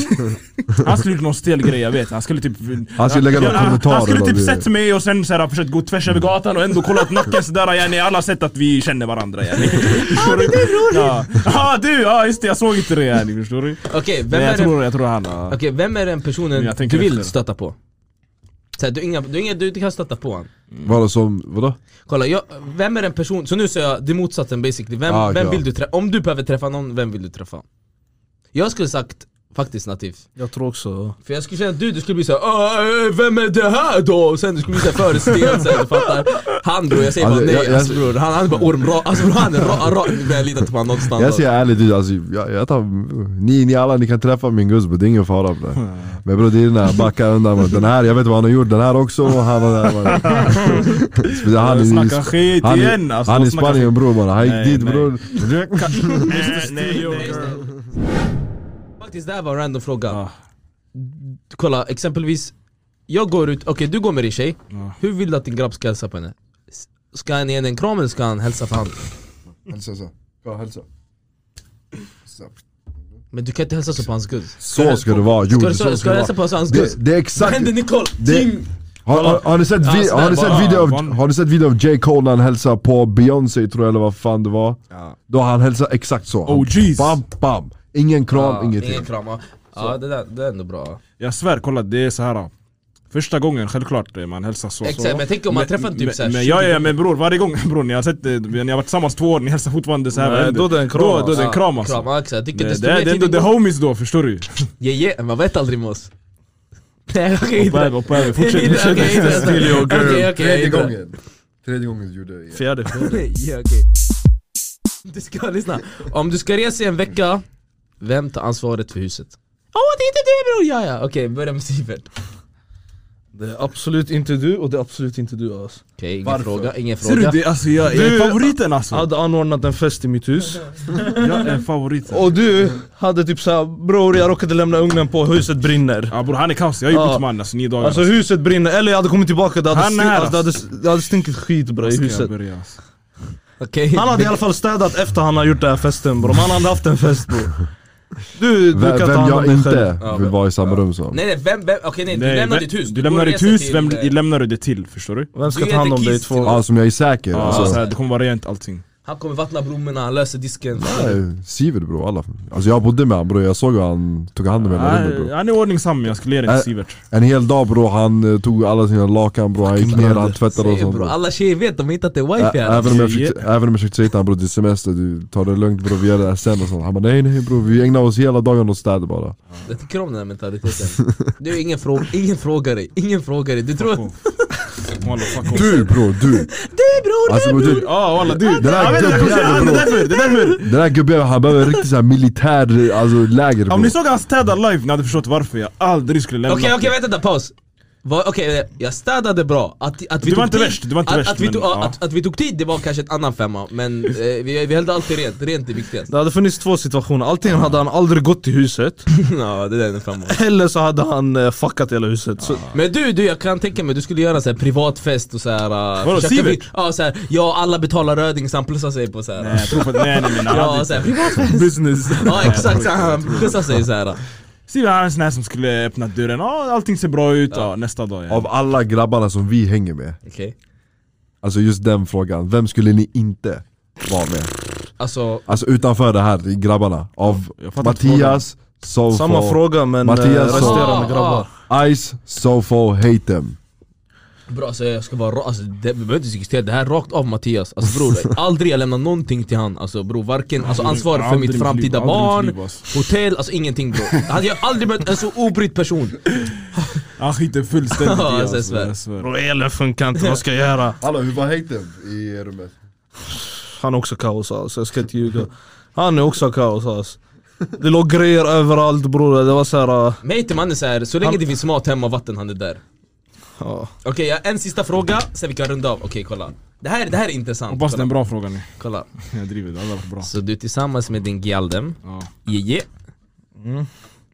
[SPEAKER 4] han skulle gjort någon stel grej jag vet. Han skulle typ...
[SPEAKER 1] Han skulle lägga någon
[SPEAKER 4] han-
[SPEAKER 1] kommentar
[SPEAKER 4] Han skulle
[SPEAKER 1] eller
[SPEAKER 4] typ
[SPEAKER 1] något.
[SPEAKER 4] sett mig och sen så här, försökt gå tvärs över gatan och ändå kollat nacken sådär. Yani, alla har sett att vi känner varandra yani. Ja ah, det är du bror! Ja ah, du! Ja just det jag såg inte det yani förstår du?
[SPEAKER 3] okej vem,
[SPEAKER 4] Men
[SPEAKER 3] är
[SPEAKER 4] jag
[SPEAKER 3] den-
[SPEAKER 4] tror, jag tror han... ja.
[SPEAKER 3] Okej, vem är den personen
[SPEAKER 4] Jag
[SPEAKER 3] du
[SPEAKER 4] tänker
[SPEAKER 3] vill
[SPEAKER 4] efter.
[SPEAKER 3] stöta på? Så här, du, inga, du, inga, du kan stöta på han
[SPEAKER 1] Vadå som, vadå?
[SPEAKER 3] Kolla, jag, vem är den person, så nu säger jag det är motsatsen basically, vem,
[SPEAKER 1] Ah, okej,
[SPEAKER 3] vem vill
[SPEAKER 1] ja.
[SPEAKER 3] du träffa? Om du behöver träffa någon, vem vill du träffa? Jag skulle sagt Faktiskt nativ.
[SPEAKER 2] Jag tror också...
[SPEAKER 3] För jag skulle känna att du, du skulle bli såhär "Ah, eh, Vem är det här då? Och sen du skulle bli såhär förestelse, du fattar? Han bror, jag säger
[SPEAKER 1] Alltså,
[SPEAKER 3] bara
[SPEAKER 1] jag-
[SPEAKER 3] nej
[SPEAKER 1] jag-
[SPEAKER 3] alltså, bror. Han, han är bara ormrak, alltså bror han är ra, ra, nu börjar jag lita till man någonstans
[SPEAKER 1] Jag säger ärligt ut, alltså, jag, jag tar, ni, ni alla ni kan träffa min guzz bror, det är ingen fara på det. Men bror det är den här, backa undan bror. Den här, jag vet vad han har gjort, den här också och han har den här. bror. Han är i-
[SPEAKER 4] Snacka skit
[SPEAKER 1] han är-
[SPEAKER 4] igen alltså,
[SPEAKER 1] Han är i
[SPEAKER 4] snacka
[SPEAKER 1] Spanien bror bara, han
[SPEAKER 4] Nej,
[SPEAKER 1] gick dit
[SPEAKER 4] nej.
[SPEAKER 1] bror.
[SPEAKER 4] skit. Nej, nej, nej.
[SPEAKER 3] Faktiskt det här var en random fråga
[SPEAKER 4] Ja.
[SPEAKER 3] Kolla, exempelvis Jag går ut, okej du går med din tjej
[SPEAKER 4] Ja.
[SPEAKER 3] Hur vill du att din grabb ska hälsa på henne? S- Ska han ge henne en kram eller ska han hälsa för hand?
[SPEAKER 1] Hälsa så. Ja, hälsa. Så.
[SPEAKER 3] Men du kan inte hälsa så på hans guzz
[SPEAKER 1] Så ska det vara, jo
[SPEAKER 3] Ska du,
[SPEAKER 1] det- så
[SPEAKER 3] så, ska
[SPEAKER 1] ska
[SPEAKER 3] du
[SPEAKER 1] det
[SPEAKER 3] hälsa på
[SPEAKER 1] vara.
[SPEAKER 3] hans guzz?
[SPEAKER 1] Det, det är
[SPEAKER 3] Vad
[SPEAKER 1] exakt,
[SPEAKER 3] händer Nicole?
[SPEAKER 1] det-
[SPEAKER 3] Tim!
[SPEAKER 1] har, har, har ni sett,
[SPEAKER 3] Ja,
[SPEAKER 1] vi,
[SPEAKER 3] sådär
[SPEAKER 1] har ni
[SPEAKER 3] bara.
[SPEAKER 1] sett video av,
[SPEAKER 4] Van-
[SPEAKER 1] har ni sett video av J Cole när han hälsar på Beyoncé tror jag eller vad fan det var? Då han hälsar exakt så. Han-
[SPEAKER 4] Oh, jeez.
[SPEAKER 1] bam, bam. Ingen kram,
[SPEAKER 3] Ja,
[SPEAKER 1] ingenting.
[SPEAKER 3] Ingen kram, ja. ja det, där, det är ändå bra
[SPEAKER 4] Jag svär, kolla det är så här. Första gången självklart eh, man hälsar så
[SPEAKER 3] Exakt,
[SPEAKER 4] så.
[SPEAKER 3] men tänk om man
[SPEAKER 4] Men-
[SPEAKER 3] träffar typ
[SPEAKER 4] men-
[SPEAKER 3] så här
[SPEAKER 4] Men
[SPEAKER 3] 20
[SPEAKER 4] ja, ja men bror, varje gång bror ni har sett eh, ni har varit tillsammans två år, ni hälsar fortfarande så här
[SPEAKER 2] Nej,
[SPEAKER 4] vad händer?
[SPEAKER 2] då är det en kram,
[SPEAKER 4] Då, då är det en
[SPEAKER 3] Ja,
[SPEAKER 4] kram alltså
[SPEAKER 3] Kram, ja, exakt. Jag tycker
[SPEAKER 4] Det,
[SPEAKER 3] desto
[SPEAKER 4] det, är-
[SPEAKER 3] mer
[SPEAKER 4] det är
[SPEAKER 3] tid
[SPEAKER 4] ändå the
[SPEAKER 3] går-
[SPEAKER 4] homies då, förstår du?
[SPEAKER 3] Ja, ja, man vet aldrig med oss Nej okej, inte.
[SPEAKER 4] Hoppa över, hoppa över, fortsätt,
[SPEAKER 3] Okej,
[SPEAKER 4] fortsätt.
[SPEAKER 3] okej, inte. Okej, okej,
[SPEAKER 1] Tredje
[SPEAKER 3] inte.
[SPEAKER 1] gången. Tredje gången gjorde jag det.
[SPEAKER 2] Fjärde, fjärde.
[SPEAKER 3] Ja, okej. Du ska lyssna. Om du ska resa i en vecka, vem tar ansvaret för huset? Åh det är inte du bror! Ja ja, okej börja med Sivert.
[SPEAKER 2] Det är absolut inte du och det är absolut inte du alltså.
[SPEAKER 3] Okej, ingen
[SPEAKER 1] Varför?
[SPEAKER 3] fråga, ingen fråga.
[SPEAKER 4] Ser du, det, alltså, jag, jag är
[SPEAKER 2] Du-
[SPEAKER 4] favoriten alltså!
[SPEAKER 2] Jag hade anordnat en fest i mitt hus
[SPEAKER 4] Jag är favoriten!
[SPEAKER 2] Och du hade typ såhär bror jag råkade lämna ugnen på, huset brinner
[SPEAKER 4] Ja bror han är kaos, jag är ju
[SPEAKER 2] Ja.
[SPEAKER 4] bott man alltså nio dagar
[SPEAKER 2] Alltså
[SPEAKER 4] alltså.
[SPEAKER 2] huset brinner, eller jag hade kommit tillbaka, det hade,
[SPEAKER 4] Han är
[SPEAKER 2] stu-
[SPEAKER 4] här,
[SPEAKER 2] alltså, det hade, det hade stinkit skit bra i
[SPEAKER 4] Ska jag
[SPEAKER 2] huset
[SPEAKER 4] börja, alltså.
[SPEAKER 3] Okej.
[SPEAKER 2] Han hade i alla fall städat efter han har gjort den här festen bror, Om han hade haft en fest bror Du, du
[SPEAKER 1] Vem,
[SPEAKER 2] kan ta
[SPEAKER 1] vem
[SPEAKER 2] hand om
[SPEAKER 1] jag
[SPEAKER 2] dig själv
[SPEAKER 1] inte
[SPEAKER 3] Ja,
[SPEAKER 1] vill
[SPEAKER 3] men-
[SPEAKER 1] vara i samma rum som.
[SPEAKER 3] Nej nej, vem, vem, okej nej, du
[SPEAKER 4] Nej,
[SPEAKER 3] lämnar
[SPEAKER 4] men-
[SPEAKER 3] ditt hus.
[SPEAKER 4] Du lämnar ditt
[SPEAKER 3] reser
[SPEAKER 4] hus,
[SPEAKER 3] till,
[SPEAKER 4] vem
[SPEAKER 3] eh,
[SPEAKER 4] lämnar du det till? Förstår du?
[SPEAKER 2] Vem ska
[SPEAKER 3] Du
[SPEAKER 2] ta hand om
[SPEAKER 3] heter
[SPEAKER 2] dig
[SPEAKER 3] Kiss
[SPEAKER 2] två?
[SPEAKER 3] till-
[SPEAKER 1] Ja, som jag är säker.
[SPEAKER 4] Ja,
[SPEAKER 1] alltså,
[SPEAKER 4] så här, det kommer vara rent allting
[SPEAKER 3] Han kommer vattna blommorna, han löser disken.
[SPEAKER 1] Nej, Sivert bror, alla. Alltså jag bodde med han bror, jag såg hur han tog hand om hela rummet
[SPEAKER 4] Nej,
[SPEAKER 1] bror.
[SPEAKER 4] Han är ordningsam, jag skulle ge den
[SPEAKER 1] Äh,
[SPEAKER 4] till Sivert
[SPEAKER 1] En hel dag bror, han eh, tog alla sina lakan bror, han gick ner, han tvättade och
[SPEAKER 3] Säger
[SPEAKER 1] sånt
[SPEAKER 3] bror,
[SPEAKER 1] bror.
[SPEAKER 3] alla tjejer vet, de har hittat det
[SPEAKER 1] Ä-
[SPEAKER 3] wifi här.
[SPEAKER 1] Även om jag
[SPEAKER 4] Ja,
[SPEAKER 1] försökte även om jag försökte säga till honom bror, det är semester, du tar det lugnt bror, vi gör det här sen och sånt. Han bara nej nej bror, vi ägnar oss hela dagen åt städ bara.
[SPEAKER 3] Jag tycker om den här mentaliteten. Du, ingen, frå ingen frågar dig, ingen frågar dig. Du tror att...
[SPEAKER 4] Walla, fuck off.
[SPEAKER 1] Du bror, du!
[SPEAKER 3] Nej bror!
[SPEAKER 1] Alltså bror, du,
[SPEAKER 4] Ja walla du!
[SPEAKER 1] Den här
[SPEAKER 4] Jag vet, jag kommer säga
[SPEAKER 1] gubbjäveln
[SPEAKER 4] han, Det är
[SPEAKER 1] bror.
[SPEAKER 4] därför, det är därför!
[SPEAKER 1] Den här gubben han behöver riktigt såhär militär, alltså läger
[SPEAKER 4] Om
[SPEAKER 1] bror.
[SPEAKER 4] ni såg han städa live, ni hade förstått varför jag aldrig skulle lämna
[SPEAKER 3] Okej okej vänta, vänta, paus! Va- Okej, jag städade bra, att, att vi
[SPEAKER 4] Du
[SPEAKER 3] tog
[SPEAKER 4] var inte
[SPEAKER 3] tid,
[SPEAKER 4] värst, du var inte
[SPEAKER 3] att,
[SPEAKER 4] värst,
[SPEAKER 3] att, vi
[SPEAKER 4] men,
[SPEAKER 3] tog,
[SPEAKER 4] ja.
[SPEAKER 3] att, att vi tog tid det var kanske ett annan femma, men eh, vi, vi höll alltid rent, rent är viktigast
[SPEAKER 2] Det hade funnits två situationer, antingen hade han aldrig gått till huset
[SPEAKER 3] Ja det där är en femma
[SPEAKER 2] Eller så hade han eh, fuckat hela huset
[SPEAKER 1] Ah.
[SPEAKER 2] så,
[SPEAKER 3] Men du, du jag kan tänka mig du skulle göra en sån här privat fest och såhär...
[SPEAKER 4] Vadå, Sivert?
[SPEAKER 3] Ja såhär, ja alla betalar röding så han plussar sig på
[SPEAKER 4] Nej,
[SPEAKER 3] såhär
[SPEAKER 4] jag tror på att, Eh, nej nej nej, nej
[SPEAKER 3] Ja såhär, privat fest!
[SPEAKER 4] Business
[SPEAKER 3] Ja exakt, så här, han plussar sig såhär
[SPEAKER 4] Steven han är en sån här som skulle öppna dörren, ja allting ser bra ut, ja, nästa dag ja.
[SPEAKER 1] Av alla grabbarna som vi hänger med,
[SPEAKER 3] Okej,
[SPEAKER 1] alltså just den frågan, vem skulle ni inte vara med?
[SPEAKER 3] alltså
[SPEAKER 1] Alltså utanför det här, i grabbarna, av
[SPEAKER 4] Jag fattar inte
[SPEAKER 1] Mattias, Sofo,
[SPEAKER 2] Samma fråga men eh,
[SPEAKER 1] Mattias sa-
[SPEAKER 2] resterande
[SPEAKER 3] Ah,
[SPEAKER 2] grabbar
[SPEAKER 3] ah.
[SPEAKER 1] Ice, Sofo, hate them
[SPEAKER 3] Bra, så jag ska vara ra- alltså, det, vi behöver inte diskutera det här rakt av Mattias Alltså bror, aldrig jag lämnar någonting till han Alltså bror, varken alltså, ansvar för
[SPEAKER 4] Aldrig i
[SPEAKER 3] mitt
[SPEAKER 4] mitt
[SPEAKER 3] framtida
[SPEAKER 4] liv, aldrig i mitt
[SPEAKER 3] barn
[SPEAKER 4] liv, alltså.
[SPEAKER 3] Hotell, alltså ingenting bror Han- Jag har aldrig mött en så obrydd person
[SPEAKER 4] Han skiter fullständigt i
[SPEAKER 3] Ja, alltså,
[SPEAKER 4] alltså,
[SPEAKER 3] jag svär.
[SPEAKER 4] jag svär.
[SPEAKER 2] Bror elen funkar inte, vad ska jag göra?
[SPEAKER 1] Hallå hur var hate them i rummet?
[SPEAKER 2] Han är också kaos alltså, jag ska inte ljuga Han är också kaos alltså Det låg grejer överallt bror, det var såhär... Uh,
[SPEAKER 3] Mig till mannen såhär, så länge
[SPEAKER 2] Han-
[SPEAKER 3] det finns mat hemma och vatten han är där
[SPEAKER 2] ja.
[SPEAKER 3] Okej, jag har en sista fråga, sen vi kan runda av Okej, kolla Det här, det här är intressant
[SPEAKER 4] Hoppas det är
[SPEAKER 3] kolla,
[SPEAKER 4] en bra fråga nu,
[SPEAKER 3] kolla
[SPEAKER 4] jag driver, det hade varit bra
[SPEAKER 3] Så du är tillsammans med din Gialdem
[SPEAKER 4] ja.
[SPEAKER 3] Jeje
[SPEAKER 4] Mm.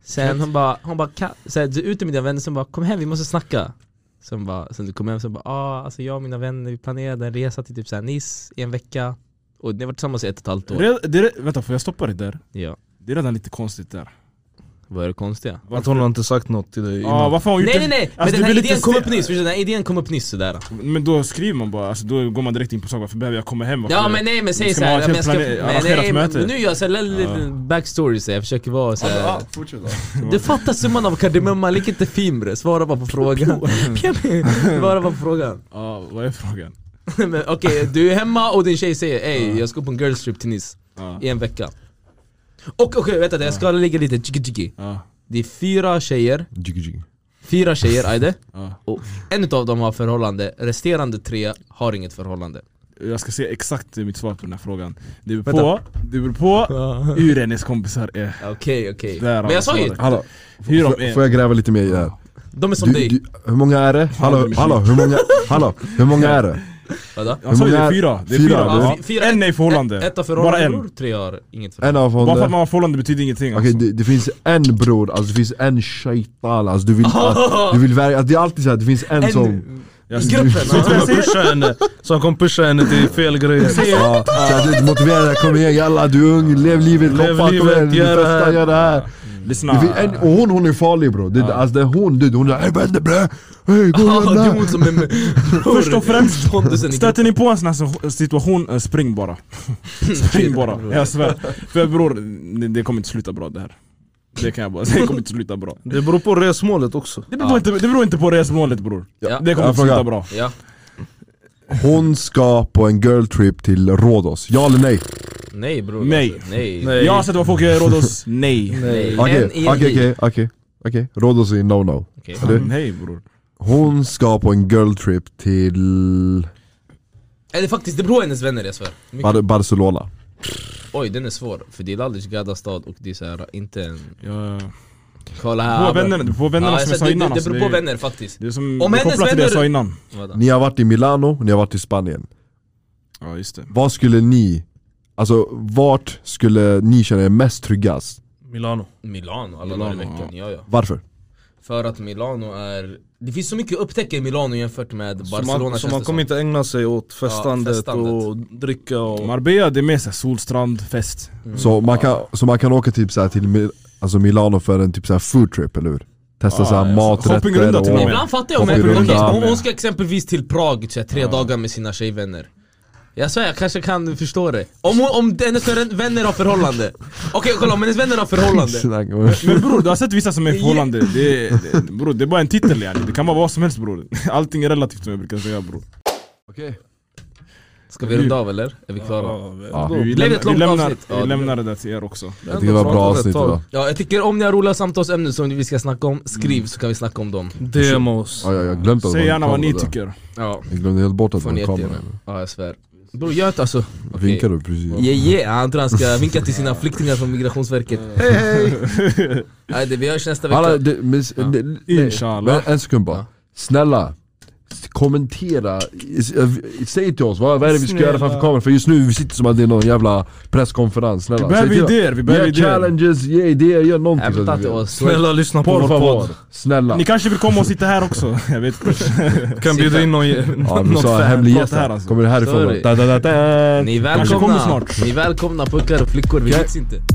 [SPEAKER 3] Sen hon bara, hon bara "Ka- så här, du är ute med dina vänner, sen bara kom hem vi måste snacka Sen bara, sen du kom hem, sen bara ah, alltså jag och mina vänner vi planerade en resa till typ såhär Nice i en vecka Och ni har varit tillsammans i ett och ett halvt år
[SPEAKER 4] Red, det, är- Vänta, får jag stoppa dig där?
[SPEAKER 3] Ja,
[SPEAKER 4] Det är redan lite konstigt där
[SPEAKER 3] vad är det konstiga?
[SPEAKER 2] Att hon har inte sagt något till dig
[SPEAKER 4] Ja,
[SPEAKER 2] innan
[SPEAKER 4] varför har hon gjort
[SPEAKER 3] Nej
[SPEAKER 4] det?
[SPEAKER 3] nej nej! Men
[SPEAKER 4] Alltså,
[SPEAKER 3] den
[SPEAKER 4] det
[SPEAKER 3] här
[SPEAKER 4] blir lite
[SPEAKER 3] idén kom
[SPEAKER 4] ste-
[SPEAKER 3] upp nyss, förstår du? den här idén kom upp nyss sådär
[SPEAKER 4] Men då skriver man bara, alltså, då går man direkt in på saker, varför behöver jag komma hem? Varför?
[SPEAKER 3] Ja men nej men säg
[SPEAKER 4] Ska man typ ha
[SPEAKER 3] såhär,
[SPEAKER 4] ett
[SPEAKER 3] ja, men jag ska,
[SPEAKER 4] helt plane-
[SPEAKER 3] men
[SPEAKER 4] arrangerat
[SPEAKER 3] nej men
[SPEAKER 4] möte?
[SPEAKER 3] nu gör jag såhär lite backstory så jag försöker vara
[SPEAKER 1] Eh,
[SPEAKER 3] såhär
[SPEAKER 1] Ah, Fortsätt
[SPEAKER 3] Du fattar summan av kardemumman, lika inte fin bre, svara bara på frågan Svara bara på frågan
[SPEAKER 4] Ja, vad är frågan?
[SPEAKER 3] Men Okej, du är hemma och din tjej säger ey jag ska på en girls trip till Nice
[SPEAKER 4] Ja.
[SPEAKER 3] i en vecka Och okej, vänta jag ska lägga lite jiggy jiggy
[SPEAKER 4] Ja,
[SPEAKER 3] Det är fyra tjejer,
[SPEAKER 1] Jiggy jiggy.
[SPEAKER 3] fyra tjejer ajde
[SPEAKER 4] ja.
[SPEAKER 3] Och en av dem har förhållande, resterande tre har inget förhållande
[SPEAKER 4] Jag ska säga exakt mitt svar på den här frågan. Det beror på,
[SPEAKER 1] Vänta.
[SPEAKER 4] det beror på hur hennes kompisar är. alltså
[SPEAKER 3] Okej okej,
[SPEAKER 4] Där har
[SPEAKER 3] men
[SPEAKER 4] vi
[SPEAKER 3] jag sa ju,
[SPEAKER 4] svaret.
[SPEAKER 1] Hallå,
[SPEAKER 4] Hur de
[SPEAKER 1] får,
[SPEAKER 4] är.
[SPEAKER 1] får jag gräva lite mer i det här?
[SPEAKER 3] de är som
[SPEAKER 1] Du,
[SPEAKER 3] dig
[SPEAKER 1] du, hur många är det? Hallå, hallå, hur många, hallå, hur många är det?
[SPEAKER 3] Vadå?
[SPEAKER 4] Jag sa ju det är
[SPEAKER 1] många-
[SPEAKER 4] fyra. Det är
[SPEAKER 1] fyra,
[SPEAKER 4] fyra.
[SPEAKER 1] det är-
[SPEAKER 4] Ja.
[SPEAKER 3] Ja, fyra-
[SPEAKER 4] en är i förhållande.
[SPEAKER 3] Ett, ett av
[SPEAKER 4] Bara
[SPEAKER 3] förhållande
[SPEAKER 4] en.
[SPEAKER 3] bror, tre har inget förhållande
[SPEAKER 1] En av
[SPEAKER 4] Bara för att
[SPEAKER 1] honom.
[SPEAKER 4] man har förhållande betyder ingenting
[SPEAKER 1] Okej
[SPEAKER 4] alltså.
[SPEAKER 1] det, det finns en bror, alltså det finns en shaitan, alltså du vill, alltså, du vill verka, alltså, det är alltid såhär, det finns en,
[SPEAKER 3] En-
[SPEAKER 1] som...
[SPEAKER 4] Jag-
[SPEAKER 3] I
[SPEAKER 2] Så
[SPEAKER 3] gruppen!
[SPEAKER 2] han kommer pusha henne, så han kommer pusha henne till fel grejer
[SPEAKER 1] Ja, så att det motiverar dig, kom igen jalla du är ung, lev livet,
[SPEAKER 2] Lev
[SPEAKER 1] kom fan kom
[SPEAKER 2] livet,
[SPEAKER 1] igen, du
[SPEAKER 2] gör det här.
[SPEAKER 1] testar, gör det här
[SPEAKER 4] Lyssna.
[SPEAKER 1] det finns en, Och hon, hon är farlig bro, det, alltså det är hon dude, hon är hej vad händer bre? Hej gå
[SPEAKER 3] Ja,
[SPEAKER 1] igen
[SPEAKER 3] du
[SPEAKER 1] där!
[SPEAKER 3] mot som en
[SPEAKER 4] Först och främst,
[SPEAKER 3] Pontusen i
[SPEAKER 4] Stöter ni på en sån här situation, eh, spring bara. spring bara, jag svär. För bror, det, det kommer inte sluta bra det här. Det kan jag bara säga, det kommer inte sluta bra.
[SPEAKER 2] Det beror på resmålet också
[SPEAKER 4] Det beror, inte, det beror inte på resmålet bror.
[SPEAKER 3] Ja.
[SPEAKER 4] Det kommer
[SPEAKER 1] Ja,
[SPEAKER 4] inte
[SPEAKER 1] fråga.
[SPEAKER 4] sluta bra.
[SPEAKER 3] Ja,
[SPEAKER 1] Hon ska på en girl trip till Rhodos, ja eller nej?
[SPEAKER 3] nej bror
[SPEAKER 4] Nej.
[SPEAKER 3] alltså. nej.
[SPEAKER 2] Nej.
[SPEAKER 4] Jag har sett vad folk gör i Rhodos, nej.
[SPEAKER 3] Nej.
[SPEAKER 1] Okej,
[SPEAKER 3] En i en
[SPEAKER 1] okej,
[SPEAKER 3] bil.
[SPEAKER 1] okej, okej, okej, Rhodos är no no
[SPEAKER 3] Okej.
[SPEAKER 1] Eller?
[SPEAKER 4] Nej bror.
[SPEAKER 1] Hon ska på en girl trip till
[SPEAKER 3] Eller faktiskt, det beror på hennes vänner jag svär Mycket.
[SPEAKER 1] Bar- Barcelona
[SPEAKER 3] Oj den är svår, för det är Lallys gadda stad och det är såhär inte en...
[SPEAKER 4] Jag,
[SPEAKER 3] Kolla här
[SPEAKER 4] på vännerna, på vännerna
[SPEAKER 3] Ja,
[SPEAKER 4] som
[SPEAKER 3] jag
[SPEAKER 4] jag
[SPEAKER 3] sa,
[SPEAKER 4] sa
[SPEAKER 3] det,
[SPEAKER 4] innan
[SPEAKER 3] det, det
[SPEAKER 4] alltså,
[SPEAKER 3] beror
[SPEAKER 4] det
[SPEAKER 3] på
[SPEAKER 4] är-
[SPEAKER 3] vänner faktiskt
[SPEAKER 4] Det är som
[SPEAKER 3] Om
[SPEAKER 4] det är
[SPEAKER 3] hennes
[SPEAKER 4] kopplat till det jag
[SPEAKER 3] vänner-
[SPEAKER 4] sa innan.
[SPEAKER 3] Vadå?
[SPEAKER 1] Ni har varit i Milano, ni har varit i Spanien
[SPEAKER 4] Ja just det.
[SPEAKER 1] Vad skulle ni, alltså vart skulle ni känna er mest tryggast?
[SPEAKER 2] Milano
[SPEAKER 3] Milano alla dagar i
[SPEAKER 4] Milano,
[SPEAKER 3] veckan, ja ja
[SPEAKER 1] Varför?
[SPEAKER 3] För att Milano är... Det finns så mycket att upptäcka i Milano jämfört med
[SPEAKER 2] Så
[SPEAKER 3] Barcelona
[SPEAKER 2] man, så
[SPEAKER 3] känns
[SPEAKER 2] man
[SPEAKER 3] det
[SPEAKER 2] kommer inte ägna sig åt festandet,
[SPEAKER 3] festandet.
[SPEAKER 2] och dricka och...
[SPEAKER 4] Marbella det är mer såhär solstrand, fest.
[SPEAKER 3] Mm.
[SPEAKER 1] Så, man kan, så man kan åka typ så här till Mil- alltså Milano för en typ så här food trip, eller hur? Testa så här
[SPEAKER 4] Ah, ja,
[SPEAKER 1] maträtter
[SPEAKER 4] shoppingrunda till och
[SPEAKER 1] och...
[SPEAKER 4] med.
[SPEAKER 3] Ibland fattar jag om
[SPEAKER 1] Hoppar
[SPEAKER 3] jag-
[SPEAKER 1] runt
[SPEAKER 3] okej,
[SPEAKER 1] där
[SPEAKER 3] om hon
[SPEAKER 4] med.
[SPEAKER 3] ska exempelvis till Prag så här, tre dagar med sina tjejvänner jag svär, jag kanske kan förstå det. Om, hon- om hennes vänner har förhållande. Okej kolla, om hennes vänner har förhållande.
[SPEAKER 1] Snack om-
[SPEAKER 4] Men bror du har sett vissa som är i förhållande, det, det, bror, det är bara en titel yani. Det kan vara vad som helst bror. Allting är relativt som jag brukar säga bror.
[SPEAKER 1] Okej.
[SPEAKER 3] Ska vi runda av eller? Är vi klara?
[SPEAKER 1] Ja,
[SPEAKER 3] Blev
[SPEAKER 4] Vi,
[SPEAKER 3] det
[SPEAKER 4] lämnar,
[SPEAKER 3] ett
[SPEAKER 4] vi,
[SPEAKER 3] långt
[SPEAKER 4] lämnar,
[SPEAKER 3] avsnitt? Ja,
[SPEAKER 4] vi
[SPEAKER 3] det-
[SPEAKER 4] lämnar det där till er också.
[SPEAKER 1] Jag tycker det var bra avsnitt idag.
[SPEAKER 3] Ja, jag tycker om ni har roliga samtalsämnen som vi ska snacka om, skriv så kan vi snacka om dem.
[SPEAKER 2] Demos
[SPEAKER 1] Ja, jag, jag glömde att det
[SPEAKER 4] Säg
[SPEAKER 1] var en
[SPEAKER 4] gärna vad ni
[SPEAKER 1] kamera där.
[SPEAKER 4] tycker.
[SPEAKER 3] Ja,
[SPEAKER 1] Jag glömde helt bort att det
[SPEAKER 3] får
[SPEAKER 1] var
[SPEAKER 3] ni
[SPEAKER 1] en kamera.
[SPEAKER 3] jättegärna. Ja, jag svär. Bror gör inte alltså. Okej.
[SPEAKER 1] Vinkar du precis?
[SPEAKER 3] Yeah, yeah. Han tror han ska vinka till sina flyktingar från migrationsverket. Hej hej! Nej, det, vi hörs nästa
[SPEAKER 1] Alla,
[SPEAKER 3] vecka.
[SPEAKER 1] det, men, s- det, nej.
[SPEAKER 4] Inshallah.
[SPEAKER 1] men en sekund bara. Snälla. s- Kommentera, S- eh, säg till oss vad, vad är det vi ska
[SPEAKER 2] Snälla.
[SPEAKER 1] göra framför kameran för just nu vi sitter som att det är någon jävla presskonferens, snälla
[SPEAKER 4] Vi
[SPEAKER 1] säg
[SPEAKER 4] behöver
[SPEAKER 1] till oss.
[SPEAKER 4] idéer, vi behöver
[SPEAKER 1] Ge
[SPEAKER 4] idéer.
[SPEAKER 1] challenges, ge idéer, gör någonting så
[SPEAKER 3] Hämta
[SPEAKER 1] att vi
[SPEAKER 3] till
[SPEAKER 1] vet.
[SPEAKER 3] oss.
[SPEAKER 2] Snälla lyssna på
[SPEAKER 1] Por
[SPEAKER 2] vår
[SPEAKER 1] favor,
[SPEAKER 2] podd
[SPEAKER 1] snälla
[SPEAKER 4] Ni kanske vill komma och sitta här också? Jag vet inte.
[SPEAKER 2] Kan bjuda in någon,
[SPEAKER 1] Ja vi
[SPEAKER 2] något
[SPEAKER 1] sa
[SPEAKER 2] fan
[SPEAKER 1] hemlig
[SPEAKER 4] prata
[SPEAKER 1] gäst
[SPEAKER 4] här,
[SPEAKER 1] här,
[SPEAKER 4] alltså.
[SPEAKER 1] kommer det härifrån
[SPEAKER 3] Sorry.
[SPEAKER 1] da, da, da, da.
[SPEAKER 3] Ni är
[SPEAKER 4] Kanske kommer
[SPEAKER 3] välkomna,
[SPEAKER 4] snart.
[SPEAKER 3] ni är välkomna pojkar och flickor, vi
[SPEAKER 1] Okej.
[SPEAKER 3] finns inte.